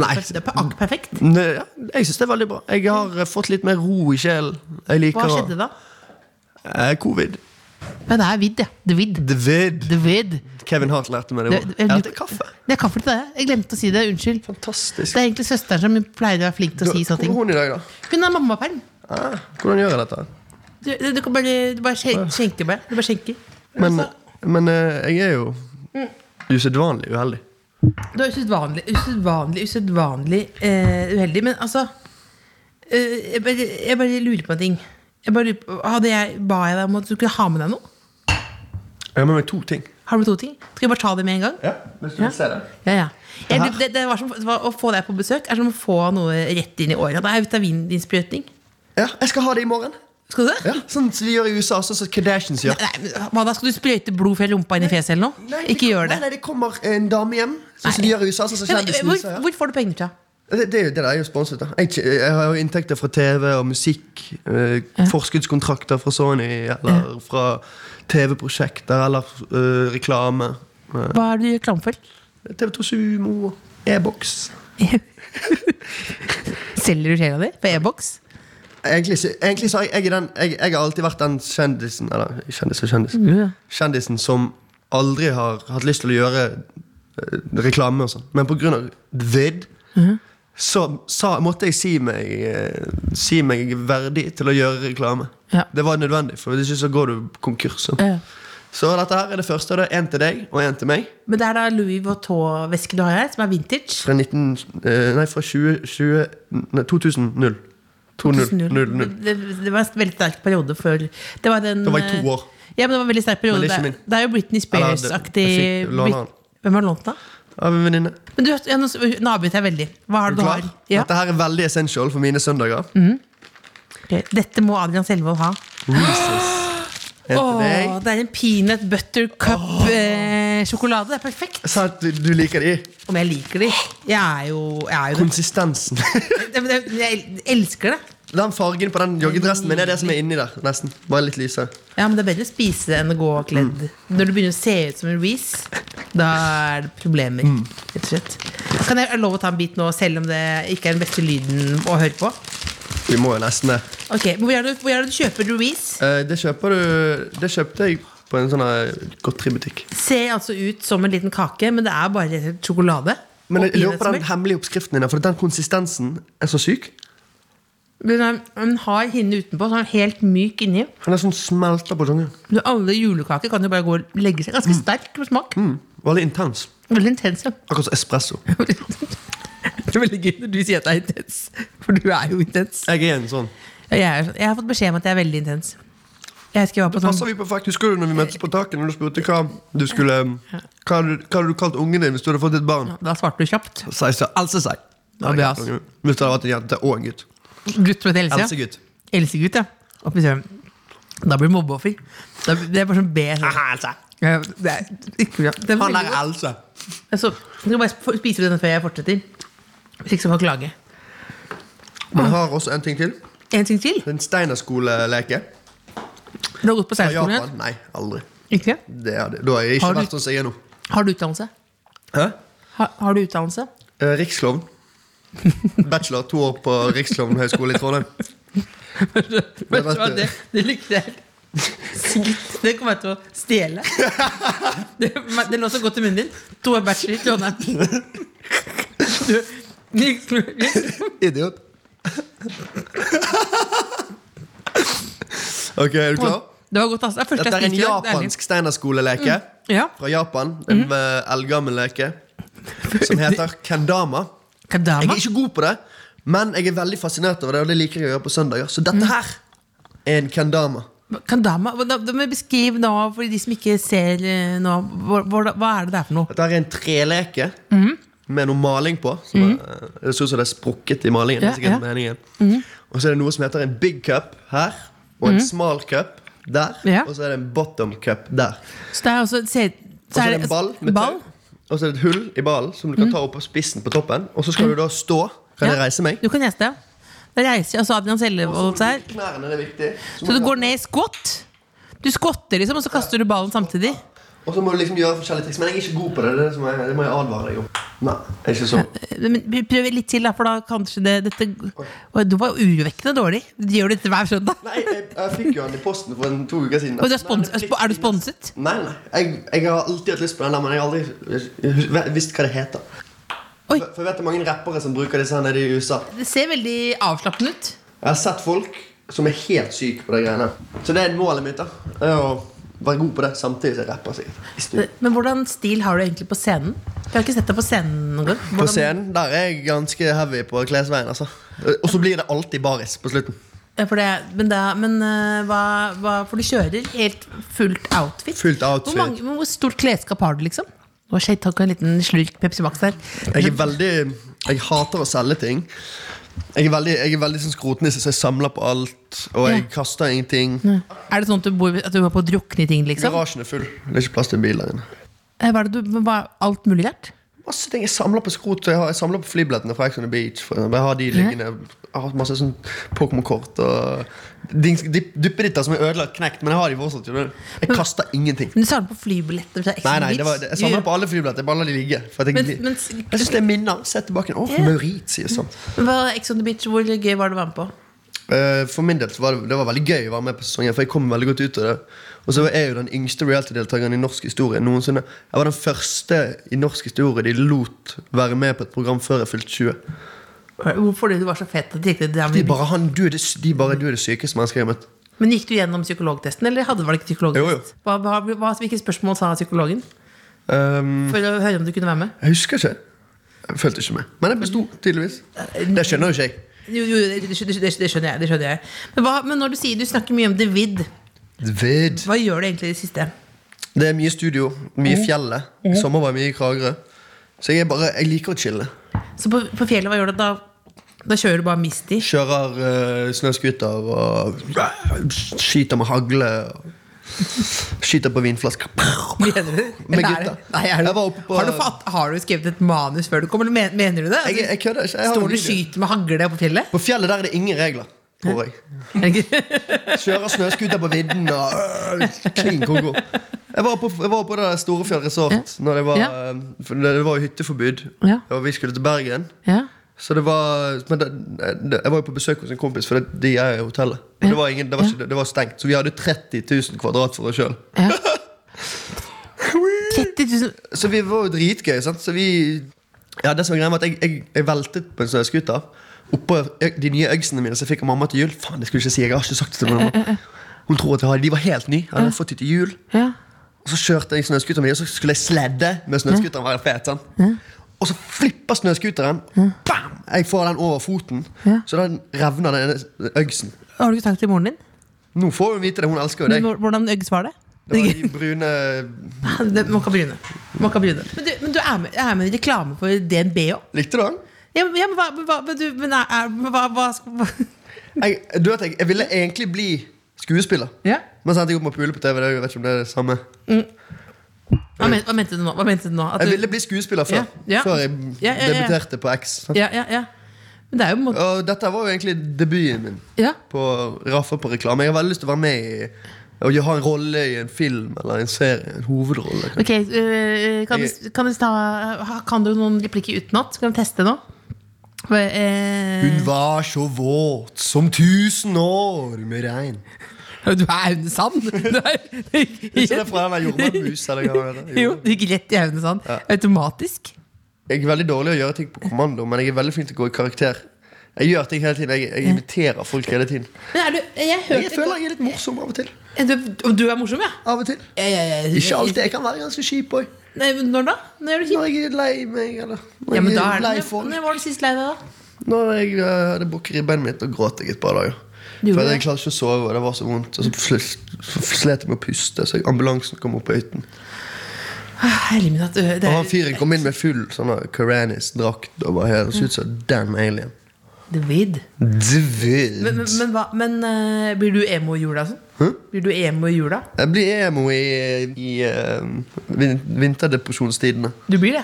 C: Nei,
B: Det er per- akkurat perfekt.
C: ne, ja, jeg syns det er veldig bra. Jeg har eh, fått litt mer ro i sjelen. Jeg liker
B: Hva
C: å-
B: skjedde da?
C: Eh, covid.
B: Ja, det er vidd, ja. Det er vidd.
C: David.
B: Det er vidd.
C: Kevin Hart lærte meg det.
B: Det-
C: i går.
B: det-
C: Jeg helte kaffe.
B: Det er kaffe til deg. Jeg glemte å si det. Unnskyld.
C: Fantastisk.
B: Det er egentlig søsteren som pleier å være flink til å si sånne
C: Hvor
B: ting.
C: er hun i dag, da?
B: Hun er mammaperm.
C: Ah, hvordan gjør jeg dette?
B: Du, du, du kan bare, du bare skjen- skjenker meg. Du bare skjenker. Altså,
C: Men, men eh, jeg er jo
B: Mm.
C: usedvanlig uheldig.
B: Du er usedvanlig, usedvanlig, usedvanlig eh, uheldig. Men altså eh, jeg, bare, jeg bare lurer på en ting. Jeg bare lurer på, hadde jeg, ba jeg deg om at du skulle ha med deg noe?
C: Jeg har med meg to ting.
B: Har du to ting? Skal vi bare ta det med en gang?
C: Ja, hvis du vil se det.
B: Ja, ja. Jeg, det, det, det var som, det var, å få deg på besøk er som å få noe rett inn i året. Det er vitamininnsprøytning.
C: Ja, jeg skal ha det i morgen.
B: Skal du det?
C: Ja, sånn som de gjør i USA, sånn som Kardashians gjør.
B: Nei, men hva da? Skal du sprøyte blod fra rumpa inn i fjeset eller noe? Ikke gjør det.
C: Nei, nei, det kommer en dame hjem, sånn som de gjør i USA. Sånn som
B: Ja, men,
C: kjendisen
B: hvor,
C: USA, ja.
B: hvor får du penger fra?
C: det, det, er jo- det der er jo sponset. da jeg, jeg har jo inntekter fra TV og musikk. Eh, Forskuddskontrakter fra Sony, eller fra TV-prosjekter, eller eh, reklame. Eh,
B: Hva er det du gjør klam for?
C: TV2 Sumo, E-boks.
B: Selger du sjela di på e-boks?
C: Egentlig, så- egentlig så har jeg, jeg, er den, jeg, jeg har alltid vært den kjendisen Eller kjendis og kjendis.
B: Ja.
C: Kjendisen som aldri har hatt lyst til å gjøre eh, reklame og sånn. Men på grunn av vid
B: Mhm.
C: så sa, måtte jeg si meg, eh, si meg verdig til å gjøre reklame.
B: Ja.
C: Det var nødvendig, for hvis ikke så går du konkurs. Så.
B: Ja.
C: så dette her er det første. og Det er én til deg og én til meg.
B: Men det er da Louis Vuitton-veske du har her, som er vintage.
C: Fra, 19, eh, nei, fra 20, 20, nei, 2000. 0. 2000. 0, 0.
B: Det, det var en veldig sterk periode før det var den,
C: Da var jeg to år.
B: Ja, men det var en veldig sterk periode. Det,
C: Men det er ikke min.
B: det er jo Britney Spears-aktig
C: Eller, det- jeg fikk låne
B: Brit-
C: han.
B: Hvem har lånt den? da?
C: Av en venninne.
B: Men du, ja, nå nå avbryter jeg veldig. Hva har
C: Er
B: det
C: du
B: du
C: klar?
B: har? Ja. Mm.
C: Dette her er veldig essential for mine søndager.
B: ok. Dette må Adrian Selvold ha.
C: Reese's. En til
B: Åh,
C: deg.
B: det er en peanut butter cup-sjokolade. det er perfekt.
C: Jeg sa at du, du liker de.
B: Om jeg liker de. Jeg er jo, jeg er jo
C: Konsistensen.
B: det. Men jeg- Jeg elsker det.
C: den fargen på den joggedressen min er det som er inni der. Nesten. Bare litt lysere.
B: Ja, men det er bedre å spise enn å gå kledd. Når du begynner å se ut som en Reece, da er det problemer.
C: Mm.
B: Rett og slett. Kan jeg ha lov å ta en bit nå, selv om det ikke er den beste lyden å høre på?
C: Vi må jo nesten det.
B: Ok, men Hvor er det, hvor er det du kjøper du Reece?
C: Eh, det kjøper du Det kjøpte jeg på en sånn her godteributikk.
B: Ser altså ut som en liten kake, men det er bare rett og slett sjokolade.
C: Men
B: og
C: jeg lurer på den
B: peanøttsmør.
C: hemmelige oppskriften din, der, for den konsistensen er så syk.
B: Den har en hard hinne utenpå, så er den helt myk inni.
C: Den er sånn smelter på tungen.
B: Men Alle julekaker kan jo bare gå og legge seg. Ganske sterk på smak.
C: Mm. Veldig intens.
B: Veldig intens. ja.
C: Akkurat som espresso.
B: Det er veldig gøy når du sier at jeg er intens, for du er jo intens.
C: Jeg er en sånn.
B: Jeg, er, jeg har fått beskjed om at jeg er veldig intens. Jeg husker jeg var på
C: Passer
B: sånn
C: vi på faktisk, husker du når vi møttes på taket Når du spurte hva du skulle Hva hadde du, hva hadde du kalt ungen din hvis du hadde fått et barn?
B: Da svarte du kjapt.
C: Så jeg sa Else seg
B: Ja, det er ass.
C: Hvis det hadde vært en jente og en gutt
B: Gutt som heter Else. ja.
C: Elsegutt
B: Elsegutt, ja. Og fy søren. Da blir du mobbeoffer. Da, det er bare sånn B. sånn.
C: Else
B: Ja, Det er ikke bra. Det er
C: Han
B: veldig
C: er
B: godt.
C: Else
B: Altså, jeg skal bare sp- spise denne før jeg fortsetter. Hvis ikke så får jeg klage.
C: Men jeg har også en ting til Det
B: En ting til.
C: er en steinerskoleleke
B: Du har gått på
C: Fra
B: særskolen?
C: Japan Nei, aldri
B: ja? Ikke?
C: det er det. Da har jeg ikke
B: Har du-
C: vært sånn som jeg er nå
B: Har du utdannelse?
C: Hæ?
B: Har, har du utdannelse?
C: Eh, Riksloven Bachelor, to år på Riksloven høyskole i Trondheim
B: Vet du hva, det, det likte jeg helt sykt. Det kommer jeg til å stjele. Det, men det lå så godt i munnen din. To er bachelor i Trondheim. Du, liksom-
C: Idiot Ok, er du klar?
B: det var godt, altså. Det er første
C: Dette er
B: jeg
C: en
B: spiser i dag, det er
C: japansk steinerskoleleke
B: litt- Ja.
C: fra Japan. En eh, eldgammel leke som heter kendama. Jeg
B: Kadama.
C: er ikke god på det, men jeg er veldig fascinert over det, og det liker jeg å gjøre på søndager. Så dette her er en kendama.
B: Kadama. Hva- Da, da må jeg beskrive nå, for de som ikke ser eh, nå, hva, hva- hva er det det er for noe?
C: Dette her er en treleke
B: Mhm.
C: med noe maling på. Som er, det ser ut som det er sprukket i malingen. det er
B: Ja, Mhm.
C: sikkert meningen. Og så er det noe som heter en big cup her, og en smal cup. der,
B: Ja.
C: og så er det en bottom cup der.
B: Så det er også se-
C: Og så er det en ball med
B: ball. Mhm.
C: tau, og så er det et hull i ballen som du kan ta opp på spissen på toppen. Og så skal du da stå. Kan jeg
B: Ja.
C: reise meg?
B: Du kan reise deg. Da reiser jeg, og så Adrian Sellevold seg.
C: Knærne er viktig. Så
B: Så
C: må
B: du
C: du-
B: går ned i squat. Du skotter liksom, og så kaster du ballen samtidig.
C: Og så må du liksom gjøre forskjellige triks. Men jeg er ikke god på det. Det, er det, som jeg, det må jeg advare deg om. Nei, jeg er ikke sånn.
B: Men vi prøver litt til, da, for da kanskje det dette Oi, Du var urovekkende dårlig. Du gjør dette hver søndag.
C: Nei, jeg, jeg fikk jo den i posten for en to uker siden.
B: Og du er,
C: Nei,
B: spons
C: det
B: altså, er du sponset?
C: Nei, nei. Jeg, jeg har alltid hatt lyst på den, der, men jeg har aldri hus- ve- visst hva det heter.
B: Oi.
C: For, for jeg vet det er mange rappere som bruker disse her nede i USA.
B: Det ser veldig avslappende ut.
C: Jeg har sett folk som er helt syke på de greiene. Så det er målet mitt. da er Å være god på det samtidig som jeg rapper. sikkert I studio.
B: Men hvordan stil har du egentlig på scenen? Jeg har ikke sett deg på scenen noen gang.
C: På
B: Hvordan-
C: scenen der er jeg ganske heavy på klesveien. altså Og så blir det alltid baris på slutten.
B: Ja, For det, men da, men eh, hva, hva For du kjører helt fullt outfit?
C: Fullt outfit.
B: Hvor, mange, hvor stort klesskap har du, liksom? Nå skje- tok jeg en liten slurk Pepsi Max der.
C: Jeg er veldig Jeg hater å selge ting. Jeg er veldig, jeg er veldig sånn skrotnisse, så jeg samler på alt. Og jeg
B: Ja.
C: kaster ingenting.
B: Er det sånn at du bor, at du er på å drukne i ting, liksom?
C: Garasjen er full. Det er ikke plass til en bil der inne.
B: Eh, Hva er det du, hva, alt mulig lært?
C: Masse ting. Jeg samler på skrot. så Jeg, har, jeg samler på flybillettene fra Ex on the Beach. For eksempel. jeg har de liggende. Jeg har masse sånn Pokémon-kort og dings- dipp- duppeditter som er ødelagt, knekt. Men jeg har de fortsatt. skjønner du. Jeg kaster ingenting.
B: Men du samler på flybilletter fra Ex
C: Nei,
B: on the
C: nei, det var,
B: Beach.
C: jeg samler på alle flybilletter. Jeg bare lar de ligge. For at jeg,
B: Men-
C: glir-
B: men-
C: jeg syns det er minner. Se tilbake. Å,
B: Ja.
C: for Mauritius. Sånn.
B: Men hva- Ex on the Beach, hvor gøy var det å være med på?
C: Eh, For min del så var det, det var veldig gøy å være med på sesongen, for jeg kom veldig godt ut av det. Og så var jeg jo den yngste reality-deltakeren i norsk historie noensinne. Jeg var den første i norsk historie de lot være med på et program før jeg fylte 20.
B: Hvorfor det du var så fet at du gikk det der
C: De
B: med
C: bare, han, du, er det, s- de bare du er det sykeste mennesket jeg har møtt.
B: Men gikk du gjennom psykologtesten, eller hadde du vel ikke psykologtest?
C: Jo, jo.
B: Hva, hva, hva, hvilke spørsmål sa psykologen?
C: Ehm,
B: For å høre om du kunne være med?
C: jeg husker ikke. Jeg følte ikke med. Men jeg besto, tydeligvis. Det skjønner jo ikke jeg.
B: Jo, jo det, det, det, det skjønner jeg. Det skjønner jeg. Men, hva, men når du sier du snakker mye om The Vid,
C: Ved.
B: hva gjør du egentlig i det siste?
C: Det er mye studio, mye fjellet. I sommer var jeg mye i Kragerø. Så jeg, er bare, jeg liker å chille.
B: Så på, på fjellet, hva gjør du da? Da kjører du bare Misty?
C: Kjører uh, snøskuter og skyter med hagle. Og skyter på vinflasker.
B: Mener du?
C: Med
B: Eller er
C: gutta.
B: det- Nei, er det,
C: Jeg var oppe på-
B: har, du fatt, har du skrevet et manus før du kom, eller men- mener du det?
C: Jeg, jeg kødder ikke. Jeg har
B: Står
C: en
B: du og
C: video.
B: skyter med hagle på fjellet?
C: På fjellet der er det ingen regler. Tror jeg.
B: Er det ikke-
C: Kjører snøskuter på vidden og øh, klin koko. Jeg var på, jeg var på det der Storefjell resort. Når det, var,
B: Ja.
C: øh, for det det var jo hytteforbud.
B: Ja.
C: Og vi skulle til Bergen.
B: ja.
C: Så det var Men det, det, jeg var jo på besøk hos en kompis, for det, de er jo i hotellet. Men det var, ingen, det, var ikke, det var stengt, så vi hadde 30 000 kvadrat for oss sjøl.
B: ja. 30 000
C: Så vi var jo dritgøy, sant? Så vi Ja, det som var greia var at jeg, jeg, jeg veltet på en snøskuter Oppå ø- de nye Uggsene mine som jeg fikk av mamma til jul. Faen, det skulle jeg ikke si, jeg har ikke sagt det til mamma Hun tror at jeg har de var helt nye. Jeg hadde fått de til jul
B: Ja.
C: Og så kjørte jeg snøskuteren min, og så skulle jeg sledde med snøskuteren. Være fet, sant? Og så flipper snøskuteren. Bam! Jeg får den over foten,
B: Ja.
C: så den revner den ene øgsen.
B: Har du ikke sagt til moren din?
C: Nå får hun vite det, hun elsker jo
B: Men
C: deg.
B: hvor- Hvordan øgges var det?
C: Det var de brune
B: Det- Mokka Bryne. Mokka Bryne. Men du, men du er, med, er med i reklame for DNB òg?
C: Likte du den?
B: Ja, men- ja, men hva, men hva, men du, men er, er, men hva, hva, hva
C: Jeg, du vet, jeg, jeg ville egentlig bli skuespiller.
B: Ja.
C: Men så endte jeg opp med å pule på TV. Det, jeg vet ikke om det er det samme
B: Hva, men, hva mente du nå? Hva mente du nå? At
C: Jeg
B: du,
C: ville bli skuespiller før,
B: Ja, ja.
C: før jeg
B: Ja, ja, ja.
C: debuterte på X. sant?
B: ja, ja, ja. Men det er jo en måte
C: Og dette var jo egentlig debuten min
B: Ja.
C: på Raffa på reklame. Jeg har veldig lyst til å være med i og ha en rolle i en film eller en serie. En hovedrolle. kanskje.
B: Ok, øh, kan, du, kan, du ta, ha- kan du noen replikker utenat? Skal vi teste nå?
C: Hun
B: Eh,
C: var så våt som tusen år med regn.
B: du er Aune-sand!
C: Ikke det fra den der jordbærmus, eller hva det heter?
B: Jo, du gikk rett i Aune-sand. Automatisk.
C: Jeg er veldig dårlig å gjøre ting på kommando, men jeg er veldig flink til å gå i karakter. Jeg gjør ting hele tiden, jeg, jeg imiterer folk hele tiden.
B: Men er du, jeg
C: Jeg
B: hørte
C: føler jeg er litt morsom av og til.
B: du, du er morsom, ja?
C: Av og til.
B: Ja, ja, ja.
C: Ikke alltid. Jeg kan være ganske kjip òg.
B: Nei, men når da? Når er du kjip?
C: Når jeg er lei meg, eller når
B: Ja, men
C: jeg
B: da
C: er
B: er det,
C: lei
B: når,
C: folk.
B: når var du sist lei deg, da?
C: Når jeg eh, hadde brukket ribbein mitt, og gråt jeg et par dager.
B: Du
C: For
B: gjorde
C: jeg klarte ikke å sove, og det var så vondt. Og så fl- så slet jeg med å puste, så ambulansen kom opp på hytten.
B: Herlig Ah, min at du det
C: Og
B: er-
C: han fyren kom inn med full sånn Karanis-drakt og bare her, så ut som Dan Alien.
B: David.
C: Dvilt.
B: Men, men, men, hva- men eh, blir du emo i jula? og Sånn? Blir du emo i jula?
C: Jeg blir emo i, i eh, vin- vinterdepresjonstidene.
B: Du blir det.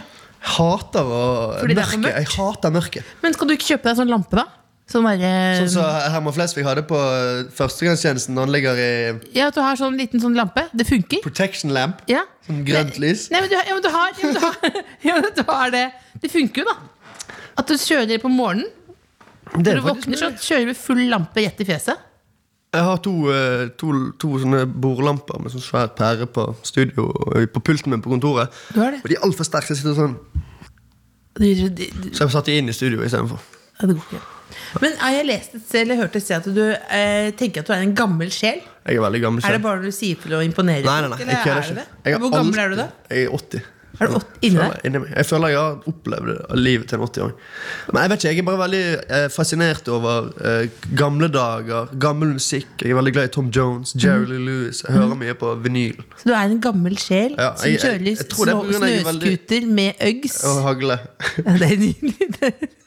C: Hater å
B: Fordi det er for
C: mørket.
B: mørkt?
C: Jeg hater mørket.
B: Men skal du ikke kjøpe deg sånn lampe, da? Sånn derre
C: Sånn som Herman Flesvig hadde på førstegangstjenesten. Han ligger i
B: Ja, at du har sånn liten sånn lampe. Det funker.
C: protection lamp.
B: Ja.
C: Sånn grønt lys.
B: Nei, men du, har- ja, men du har, ja, men du har, ja, men du har det. Det funker jo, da. At du kjører på morgenen.
C: Det
B: Når
C: er
B: du
C: faktisk
B: våkner, så kjører du med full lampe rett i fjeset.
C: Jeg har to, eh, to, to sånne bordlamper med sånn svær pære på studio på pulten min på kontoret.
B: Du har det.
C: Og de er altfor sterke. Så jeg sitter sånn
B: Det, det, det,
C: Så jeg satte de inn i studio istedenfor.
B: Ja, det går ikke. Men har jeg lest et sted, eller hørt et sted at du eh, tenker at du er en gammel sjel?
C: Jeg er veldig gammel.
B: Er det
C: selv.
B: bare du sier for å imponere?
C: Nei, nei,
B: folk,
C: nei,
B: eller
C: jeg
B: er
C: kødder
B: det
C: ikke.
B: det?
C: Jeg har
B: Hvor gammel
C: alltid-
B: er du da?
C: Jeg er 80.
B: Er du 80 inni
C: Føler jeg- meg. Jeg føler jeg har opplevd livet til en 80-åring. Men jeg vet ikke, jeg er bare veldig eh, fascinert over eh, gamle dager, gammel musikk. Jeg er veldig glad i Tom Jones, Jerry Lee Lewis. Jeg
B: Mhm.
C: hører mye på vinyl.
B: Så du er en gammel sjel
C: Ja, jeg- jeg-
B: som kjører
C: jeg tror det er på grunn av at jeg er veldig-
B: snøskuter med Uggs?
C: Og hagle.
B: Ja, det er nydelig. det.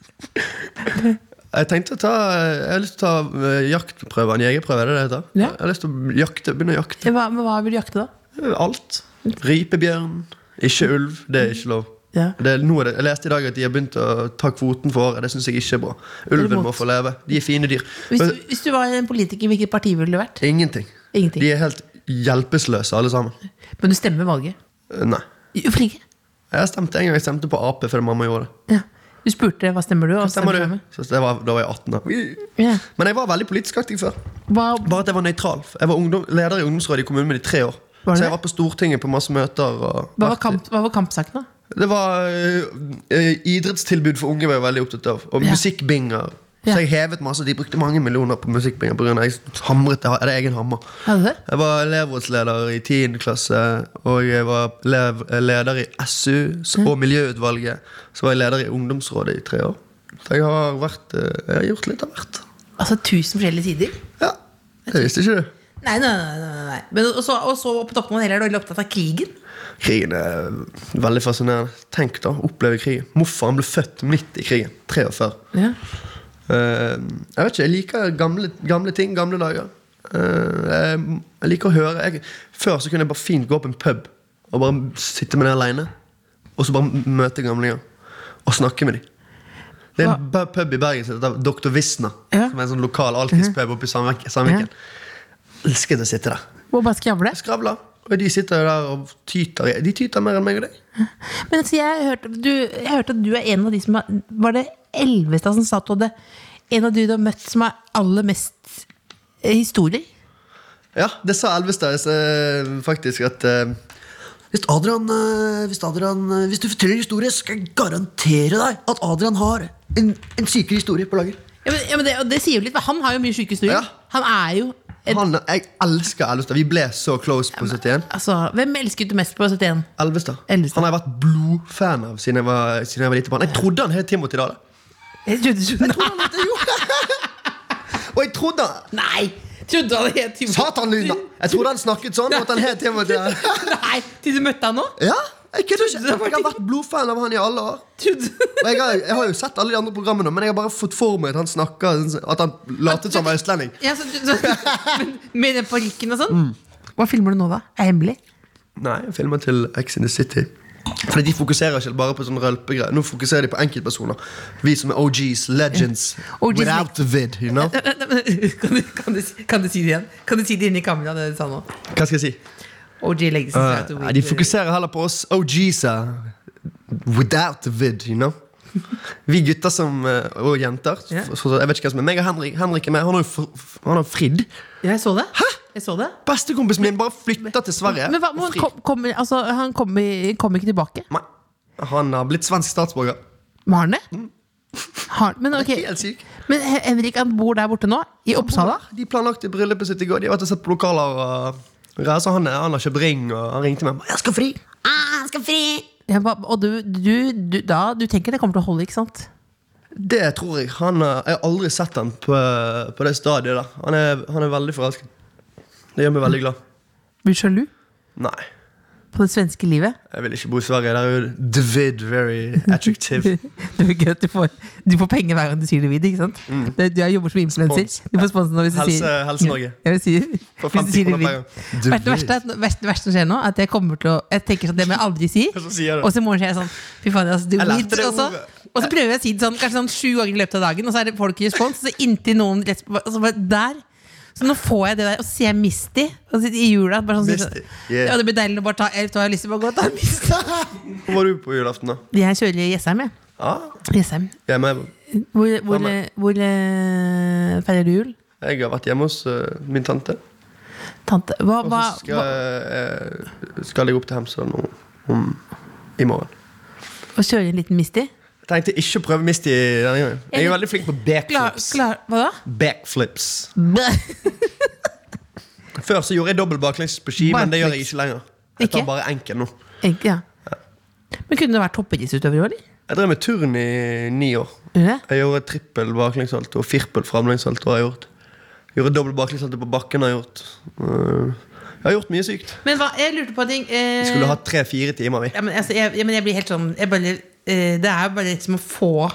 C: Jeg tenkte å ta Jeg har lyst til å ta eh, jaktprøve. En jegerprøve, er det det heter?
B: Ja.
C: Jeg har lyst til å jakte, begynne å jakte.
B: Hva, men hva vil du jakte, da?
C: Alt. Ripebjørn. Ikke ulv. Det er ikke lov.
B: Ja.
C: Det er noe, av det- jeg leste i dag at de har begynt å ta kvoten for året. Det syns jeg ikke er bra. Ulven må få leve. De er fine dyr.
B: Hvis
C: Men
B: du, hvis du var en politiker, hvilket parti ville du vært?
C: ingenting.
B: Ingenting.
C: De er helt hjelpeløse, alle sammen.
B: Men du stemmer ved valget.
C: Eh, Nei.
B: Jo, Flinke.
C: Jeg stemte en gang jeg stemte på Ap fordi mamma gjorde det.
B: Ja. Du spurte hva stemmer du og
C: Stemmer
B: stemte
C: du? Så det var, da var jeg 18 da.
B: Ja.
C: Men jeg var veldig politisk aktiv før.
B: Hva,
C: Bare at jeg var nøytral. Jeg var ungdom, leder i ungdomsrådet i kommunen min i tre år.
B: Var det
C: så
B: det?
C: jeg var på Stortinget på masse møter. Og
B: hva, var kamp, hva var kampsaken, da?
C: Det var eh, idrettstilbud for unge var jeg veldig opptatt av. Og
B: Ja.
C: musikkbinger.
B: Ja.
C: Så jeg hevet masse. De brukte mange millioner på musikkbinger pga. jeg hamret jeg hadde egen hammer.
B: Hadde du det?
C: Jeg var elevrådsleder i 10. klasse, og jeg var lev, eh, leder i SU s- og Miljøutvalget. Så var jeg leder i ungdomsrådet i tre år. Så jeg har, vært, eh, jeg har gjort litt av hvert.
B: Altså tusen forskjellige sider?
C: Ja, Jeg visste ikke det.
B: Nei, nei, nei, nei, nei. Men, og, så, og så på toppen av det hele er du veldig opptatt av krigen.
C: Krigen er veldig fascinerende. Tenk da, oppleve krigen. Morfaren ble født midt i krigen. 43.
B: Ja.
C: Eh, jeg vet ikke, jeg liker gamle, gamle ting, gamle dager. Eh, jeg, jeg liker å høre jeg, Før så kunne jeg bare fint gå på en pub og bare sitte med det aleine. Og så bare møte gamlinger og snakke med dem. Det er en bu- pub i Bergen som heter Dr. Visna.
B: Ja.
C: Som er en sånn lokal alkispub oppe i Sandvik- Sandviken. Elsket å sitte der.
B: Må bare skravle.
C: Skravler. Og de sitter jo der og tyter. i- De tyter mer enn meg og deg.
B: Men altså, jeg, hørte, du, jeg hørte at du er en av de som har, Var det Elvestad som sa at du hadde en av de du har møtt som har aller mest eh, historier?
C: Ja, det sa Elvestad eh, faktisk at eh,
E: Hvis Adrian, eh, hvis Adrian eh, Hvis du forteller historie, skal jeg garantere deg at Adrian har en, en sykere historie på lager.
B: Ja, men, ja, men det, og det sier jo litt, for han har jo mye syke historier.
C: Ja.
B: Han er jo et,
C: han, Jeg elsker Elvestad. Vi ble så close på 71.
B: altså, Hvem elsket du mest på 71?
C: Elvestad.
B: Elvestad.
C: Han har jeg vært blodfan av siden jeg var, siden jeg var lite barn. Jeg trodde han het Timothy Dale.
B: Jeg trodde ikke
C: Og jeg trodde han
B: Nei! Trodde han het Timothy?
C: Satan, Luna! Jeg trodde han snakket sånn at han het Timothy Dale.
B: Nei, Til du møtte han nå?
C: Ja, jeg kødder ikke.
B: Trodde det var
C: Jeg har vært blodfan av han i alle år.
B: Trodde
C: Og jeg har, jeg har jo sett alle de andre programmene, men jeg har bare fått for meg at han snakker sånn- At han latet som han var østlending.
B: Ja, så, så, men, med den parykken og sånn? Hva filmer du nå, da? Er det hemmelig?
C: Nei, jeg filmer til X in the City. Fordi de fokuserer ikke bare på sånne rølpegreier. Nå fokuserer de på enkeltpersoner. Vi som er OGs, legends.
B: OGs.
C: Without the vid, you know?
B: Kan du, kan, du, si- kan du si det igjen? Kan du si det inni kameraet, det du sa nå?
C: Hva skal jeg si?
B: OG legges i
C: Eh,
B: seg
C: nei, de fokuserer heller på oss OGs-er. Without the vid, you know? Vi gutter som, eh, og jenter.
B: Ja.
C: f- f- Jeg vet ikke hva som er meg og Henrik. Henrik er med. Han har, jo fr- f- han har fridd.
B: Jeg så det. Hæ? Jeg så det.
C: Bestekompisen min bare flytter til Sverige.
B: Men hva,
C: og
B: må han
C: frir.
B: kom, kommer- altså, han kommer kom ikke tilbake?
C: Nei, Han har blitt svensk statsborger.
B: Må han det? Mm. Har, men ok,
C: Helt syk.
B: men Hen- Henrik han bor der borte nå? I Oppsala?
C: De planlagte bryllupet sitt i går. De har vært og sett på lokaler. Og greier, så han, er- han har kjøpt ring, og han ringte meg. 'Jeg skal fri!'
B: Ja, hva- og du, du, du, da, du tenker det kommer til å holde, ikke sant?
C: Det tror jeg. Han, er- jeg har aldri sett han på, på det stadiet der. Han er, han er veldig forelsket. Det gjør meg veldig glad.
B: Blir du sjalu
C: Nei.
B: på på det svenske livet.
C: Jeg vil ikke bo i Sverige. Der er jo dvid very attractive.
B: Det er jo gøy at du får, du får penger hver gang du sier det videre. Ikke sant? Det, du er- jobber som
C: Mm. Spons.
B: influenser. Du får sponsen hvis du
C: Helse-
B: sier
C: Helse-Norge.
B: Ja, hvis du sier-
C: For
B: hvis du
C: 50
B: sier det
C: kroner per gang.
B: videre. Det verste- verste er at- verste- verste som skjer nå, er at jeg kommer til å Jeg tenker sånn, det må jeg aldri si.
C: Og så sier jeg det.
B: Og så i morgen sier jeg sånn Fy faen, altså, du
C: Jeg lærte
B: weed.
C: det
B: Og så,
C: ordet.
B: og så prøver jeg å si det sånn kanskje sånn sju ganger i løpet av dagen, og så er det folk i respons. Så inntil noen rett- og så bare der. Så nå får jeg det der, og så sier jeg Misty og så i jula. Bare sånn, sier
C: Misty,
B: sånn,
C: yeah.
B: Ja, det blir deilig å bare ta Jeg har lyst til å bare gå og ta Misty.
C: Hvor var du på julaften, da?
B: Jeg kjører i Jessheim, jeg.
C: Ah,
B: Jessheim.
C: jeg, er med.
B: Hvor, hvor,
C: med?
B: eh, hvor eh, feirer du jul?
C: jeg har vært hjemme hos eh, min tante.
B: Tante hva,
C: Og
B: hva,
C: så skal,
B: hva,
C: jeg- skal jeg opp til Hemsedal nå om, i morgen.
B: Å kjøre en liten Misty?
C: Jeg tenkte ikke å prøve Misty denne gangen. Jeg er veldig flink på
B: Klar,
C: backflips.
B: klar, hva da?
C: Backflips Før så gjorde jeg dobbel baklengs på ski, men det gjør jeg ikke lenger. Jeg tar
B: Ikke?
C: bare enkel nå.
B: Ikke, ja. Men kunne det vært toppidrettsutøver òg, eller?
C: Jeg drev med turn i ni år.
B: Gjorde det?
C: Jeg gjorde trippel baklengssalto og firpel framlengssalto. har Jeg gjort Gjorde dobbel baklengssalto på bakken. har Jeg gjort Øh, Jeg har gjort mye sykt.
B: Men hva, jeg lurte på en ting. eh,
C: Vi skulle hatt tre-fire timer, vi.
B: ja, men, altså, jeg, ja, men jeg blir helt sånn jeg bare, eh, Det er jo bare litt som å få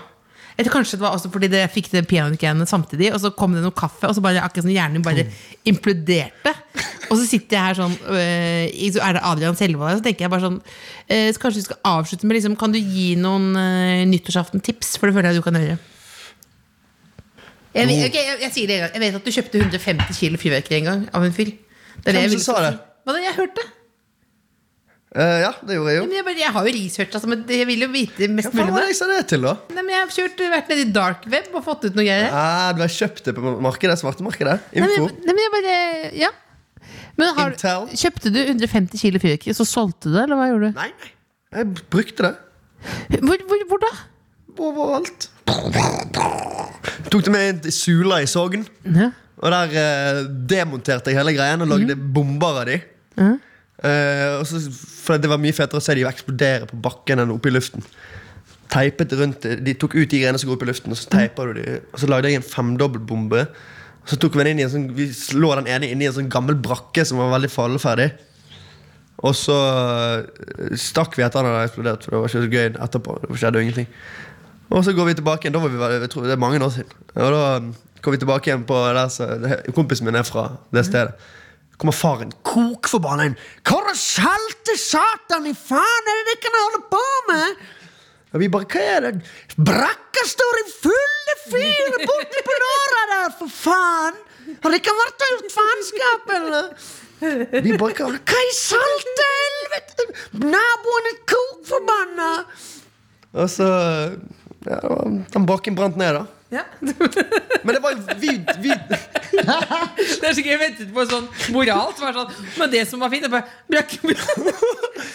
B: jeg tror kanskje det var også fordi dere fikk det pianogreiene samtidig, og så kom det noe kaffe, og så bare akkurat som hjernen min bare imploderte. Og så sitter jeg her sånn, øh, i- så er det Adrian Selvold her, så tenker jeg bare sånn øh, så Kanskje vi skal avslutte med liksom, Kan du gi noen øh, nyttårsaften-tips? For det føler jeg du kan gjøre. Jeg,
C: Oh.
B: vet- ok, jeg, jeg sier det en gang. Jeg vet at du kjøpte 150 kilo fyrverkeri en gang av en fyr. Det er
C: Hvem
B: jeg
C: som
B: ville
C: sa
B: si.
C: det?
B: Hva da? Jeg hørte det.
C: Eh, ja, det gjorde
B: Ja,
C: jeg jo.
B: Men jeg, bare, jeg har jo research, altså, men jeg vil jo vite mest
C: Hva
B: mulig
C: faen
B: om
C: var det
B: det.
C: jeg sa det til, da?
B: Nei, men jeg har kjørt, vært nede i dark web og fått ut noe greier.
C: Ah, du har kjøpt det på markedet? Svartemarkedet?
B: Nei, men,
C: Info?
B: jeg- nei, men jeg bare Ja. Men har,
C: Intel?
B: kjøpte du 150 kilo fyrverkeri, så solgte du det, eller hva gjorde du?
C: Nei, nei. Jeg brukte det.
B: Hvor, hvor, hvor da?
C: Overalt. Tok det med en sula i Sogn.
B: Ja.
C: Og der eh, demonterte jeg hele greien og lagde bomber av de. Eh, og så, for det var mye fetere å se de eksplodere på bakken enn oppe i luften. Teipet rundt, De tok ut de greiene som går opp i luften, og så teipa du de Og så lagde jeg en femdobbeltbombe. Og så tok vi den inn i en sånn Vi lå den ene inni en sånn gammel brakke som var veldig falleferdig. Og så eh, stakk vi etter den hadde eksplodert, for det var ikke så gøy etterpå. Det skjedde jo ingenting. Og så går vi tilbake igjen. Da var vi, vel- jeg tror, det er mange år siden. Og da um, kom vi tilbake igjen på der så, det- Kompisen min er fra det stedet. Kommer faren kokforbanna inn. Hvor er salte satan i faen er det dere kan holde på med? Og vi bare, hva er det? Brakka står i fulle fyr borte på låra der, for faen! Har dere vært ut faenskap, eller? Vi bare, hva, hva i salte helvete? Naboen er kokforbanna! Og så ja, det var- Den brakken brant ned, da. Men det var jo vi, vi
B: Det er så gøy jeg ventet på sånn moral som er sånn Men det som var fint, er bare brakk,
C: Men det som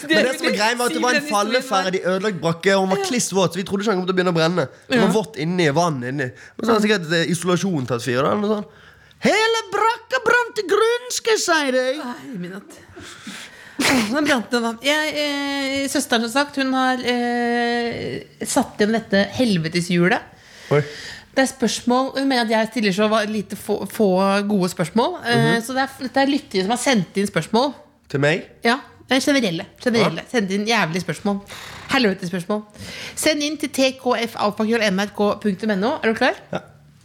C: var greia var at det var en falleferdig ødelagt brakke, og han var kliss våt, så vi trodde ikke han kom til å begynne å brenne. Det var
B: Ja.
C: vått inni, vann inni. Men så har sikkert eh, isolasjon tatt fyr. da, eller noe sånt. Hele brakka brant til grunnen, skal jeg si deg!
B: Nå brant det, da. Jeg, eh, søsteren, som sagt, hun har eh, satt igjen dette helveteshjulet. Det er spørsmål Hun mener at jeg stiller så va- lite få, få gode spørsmål.
C: Mhm.
B: Eh, Så det er, dette er lyttere som har sendt inn spørsmål.
C: Til meg?
B: Ja, eh, generelle. generelle. Send inn jævlige spørsmål. Helvete spørsmål. Send inn til tkfalfakrøllnrk.no. Er du klar?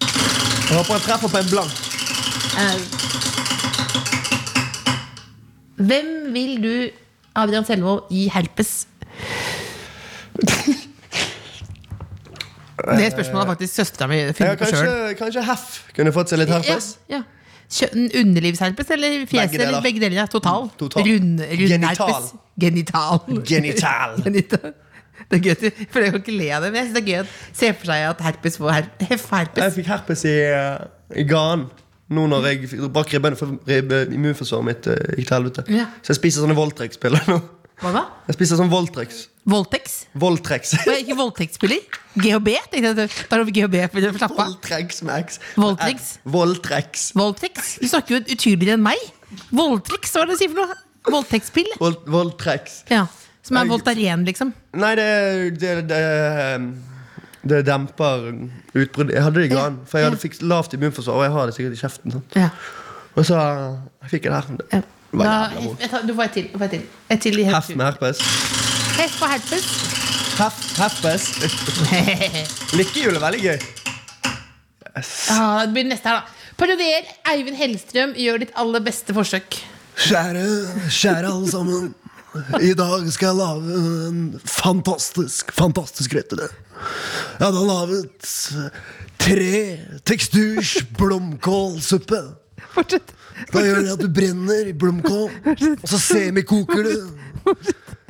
C: Jeg håper han treffer på en blank.
B: Eh, Hvem vil du, Adrian Selvold, gi herpes? Det spørsmålet har faktisk søstera mi
C: Ja,
B: funnet på sjøl.
C: kanskje, kanskje Hef kunne fått seg litt herpes?
B: Ja, ja. Kjønn, underlivsherpes eller fjeset?
C: Begge deler.
B: Eller begge deler, ja. Total.
C: Total.
B: Rund, rund
C: Genital.
B: herpes. Genital.
C: Genital.
B: Genital. Det er gøy, at du- for jeg kan ikke le av det, men jeg synes det er gøy at se for seg at herpes får her,
C: Jeg
B: herpes.
C: fikk herpes i, eh, i ganen. Nå når jeg fikk- brakk ribben for ribbe, immunforsvaret mitt eh, gikk til helvete.
B: Ja.
C: Så jeg spiser sånne Voltrex-piller nå.
B: Hva da?
C: Jeg spiser sånn Voltrex.
B: Voldtekts?
C: Voltrex.
B: Hva, Ikke voldtektsspiller? GHB? Tenkte jeg at Da er det GHB for å slappe av.
C: Voltrex med X. Eh,
B: Voltrex?
C: Voltrex.
B: Voldtekts? Du snakker jo utydeligere enn meg. Voldtekts, hva er det du sier for noe? Voldtektsspill?
C: Volt, Voltrex.
B: Ja. Som er
C: Jeg-
B: Voltaren, liksom.
C: Nei, det det, det, um, det demper utbrudd. Jeg hadde det i ganen, for jeg hadde fikk lavt immunforsvar. Og jeg har det sikkert i kjeften. Sant?
B: Ja.
C: Og så jeg fikk jeg det her.
B: Ja.
C: Det var
B: Da,
C: jævla vondt.
B: jeg tar- du får et til. Du får et til. Et til i
C: Heft med
B: herpes.
C: herpes.
B: Heft på herpes.
C: Heft, herpes. Lykkehjul er veldig gøy. Yes.
B: ah, det blir neste her, da. Parodier Eivind Hellstrøm gjør ditt aller beste forsøk.
E: Kjære, kjære alle sammen. I dag skal jeg lage en fantastisk, fantastisk rett til det. Jeg hadde laget tre teksturs blomkålsuppe.
B: Fortsett.
E: Da gjør det at du brenner i blomkål, og så semikoker du.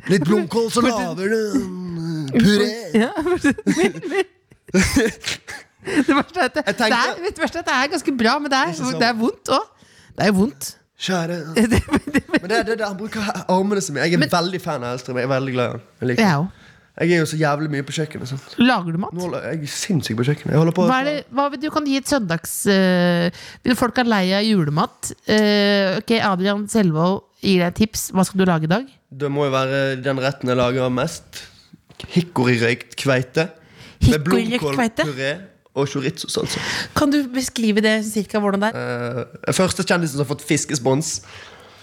E: Litt blomkål, så lager du en puré.
B: Ja, fortsett. Mer, mer. Det verste er at det,
C: Jeg
B: det,
C: tenkte-
B: er, vet du, det verste er at det er ganske bra, men det er,
C: sant.
B: det er vondt òg. Det er jo vondt.
E: Kjære
C: Men det, det, det, han bruker he- armene så mye. Jeg er
B: Men-
C: veldig fan av Elstrøm. Jeg er veldig glad i han. Jeg, liker
B: Jeg
C: han.
B: òg.
C: jeg er jo så jævlig mye på kjøkkenet. Sant?
B: Lager du mat?
C: Nå holder, jeg er sinnssyk på kjøkkenet. Jeg holder på
B: Hva er det, hva vil du kan gi et søndags eh, Vil folk er lei av julemat? Eh, ok, Adrian Selvold gir deg et tips. Hva skal du lage i dag?
C: Det må jo være den retten jeg lager mest. Hickory-røykt kveite. Med
B: Hickory-røykt kveite?
C: blomkålpuré og chorizo-salsa.
B: Kan du beskrive det cirka hvordan det er?
C: Eh, Første kjendisen som har fått fiskespons,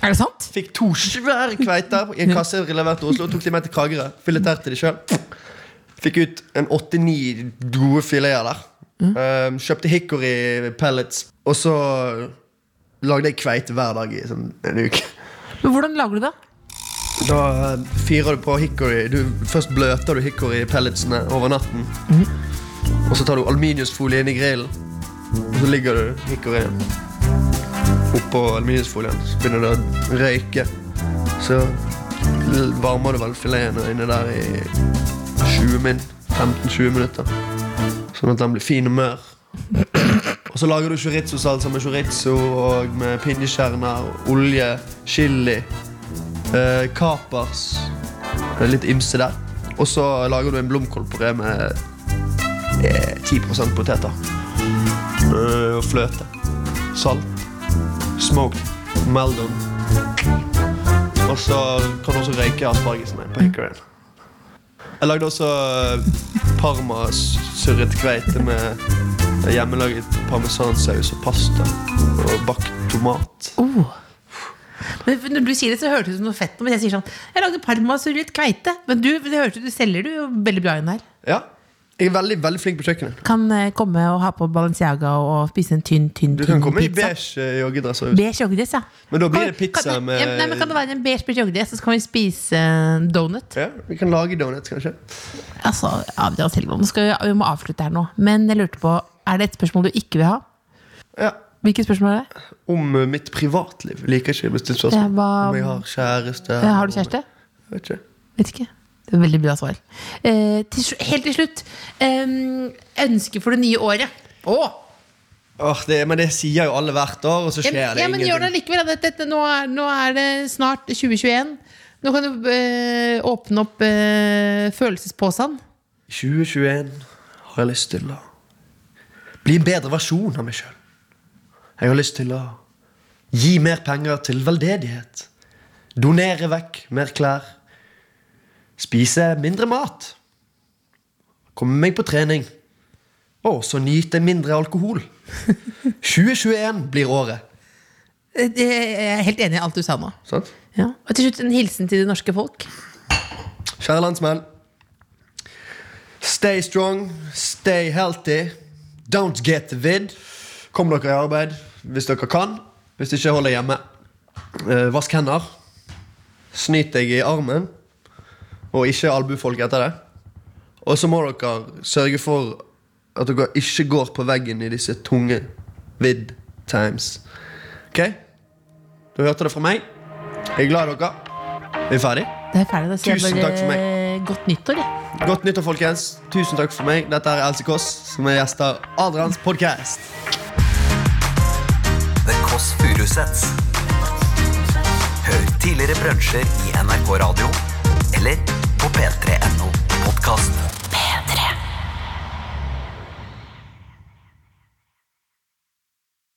B: Er det sant?
C: fikk to svære kveiter i en kasse levert til Oslo. Tok de med til Kragerø. Fileterte de sjøl. Fikk ut en åtte-ni gode fileter der. Eh, kjøpte hickory pellets. Og så lagde jeg kveite hver dag i sånn en uke.
B: Men hvordan lager du det?
C: Da eh, fyrer du på hickory. Du, først bløter du hickory-pelletsene over natten. Og så tar du aluminiumsfolie inn i grillen. Og så ligger du hickoryen oppå aluminiumsfolien. Så begynner det å røyke. Så l- varmer du vel filetene inne der i 20 min, 15-20 minutter. Sånn at den blir fin og mør. Og så lager du chorizo-salsa med chorizo og med pinjekjerner, olje, chili. Eh, kapers. Det er Litt ymse der. Og så lager du en blomkålpuré med eh, 10 poteter. Eh, og fløte. Salt. Smoked. Meldon. Og så kan du også røyke aspargesene på hickoryen. Jeg lagde også eh, parmasurret kveite med hjemmelaget parmesansaus og pasta. Og bakt tomat.
B: Oh. Men når du sier det, så hørtes det ut som noe fett. Men jeg sier sånn Jeg lagde parmasurret kveite. Men du, det hørte du selger du jo veldig bra inn her.
C: Ja. Jeg er veldig, veldig flink på kjøkkenet.
B: Kan eh, komme og ha på Balenciaga og spise en tynn, tynn,
C: Du kan
B: tynn
C: komme i
B: pizza.
C: beige eh, joggedress. og-
B: Beige joggedress, ja.
C: Men da blir
B: Kan-
C: det pizza
B: kan,
C: med-
B: ja, Nei, men Kan det være en beige beige joggedress, så kan vi spise eh, donut?
C: Ja, vi kan lage donuts, kanskje.
B: Altså, Adrian Selvold, nå skal vi, vi må avslutte her nå. Men jeg lurte på, er det et spørsmål du ikke vil ha?
C: Ja.
B: Hvilket spørsmål er det?
C: Om eh, mitt privatliv. Liker ikke hvis det er
B: Ja,
C: spørsmål.
B: hva-
C: Om jeg har kjæreste.
B: Eh, Har du kjæreste?
C: Jeg Vet ikke.
B: Vet ikke. Det er veldig bra svar. Eh, til, slu- helt til slutt. em, ønske for det nye året. Å!
C: Åh, det, men det sier jo alle hvert år, og så
B: Ja,
C: skjer
B: men-
C: det
B: ja, men gjør det
C: ingenting.
B: likevel. da. Dette, nå, er, nå er det snart 2021. Nå kan du eh, åpne opp eh, følelsesposen.
C: 2021 har jeg lyst til å bli en bedre versjon av meg sjøl. Jeg har lyst til å gi mer penger til veldedighet. Donere vekk mer klær. Spise mindre mat. Komme meg på trening. Og så nyte mindre alkohol. 2021 blir året.
B: Eh, det- Jeg er helt enig i alt du sa nå.
C: Sant?
B: Ja. Og til slutt en hilsen til det norske folk.
C: Kjære landsmenn. Stay strong, stay healthy. Don't get the vid. Kom dere i arbeid hvis dere kan. Hvis ikke, hold deg hjemme. Eh, vask hender. Snyt deg i armen, og ikke albu folk etter det. Og så må dere sørge for at dere ikke går på veggen i disse tunge vid times. OK? Du hørte det fra meg. Jeg er glad i dere. Vi er ferdig.
B: Det er ferdig. Da sier jeg bare
C: Tusen
B: eh,
C: takk for
B: godt nyttår. Jeg.
C: Godt nyttår, folkens. Tusen takk for meg. Dette er Else Kåss, som er gjest av Adrians podkast.
A: The Kåss Furuseths. Hør tidligere brunsjer i NRK Radio eller på p3.no.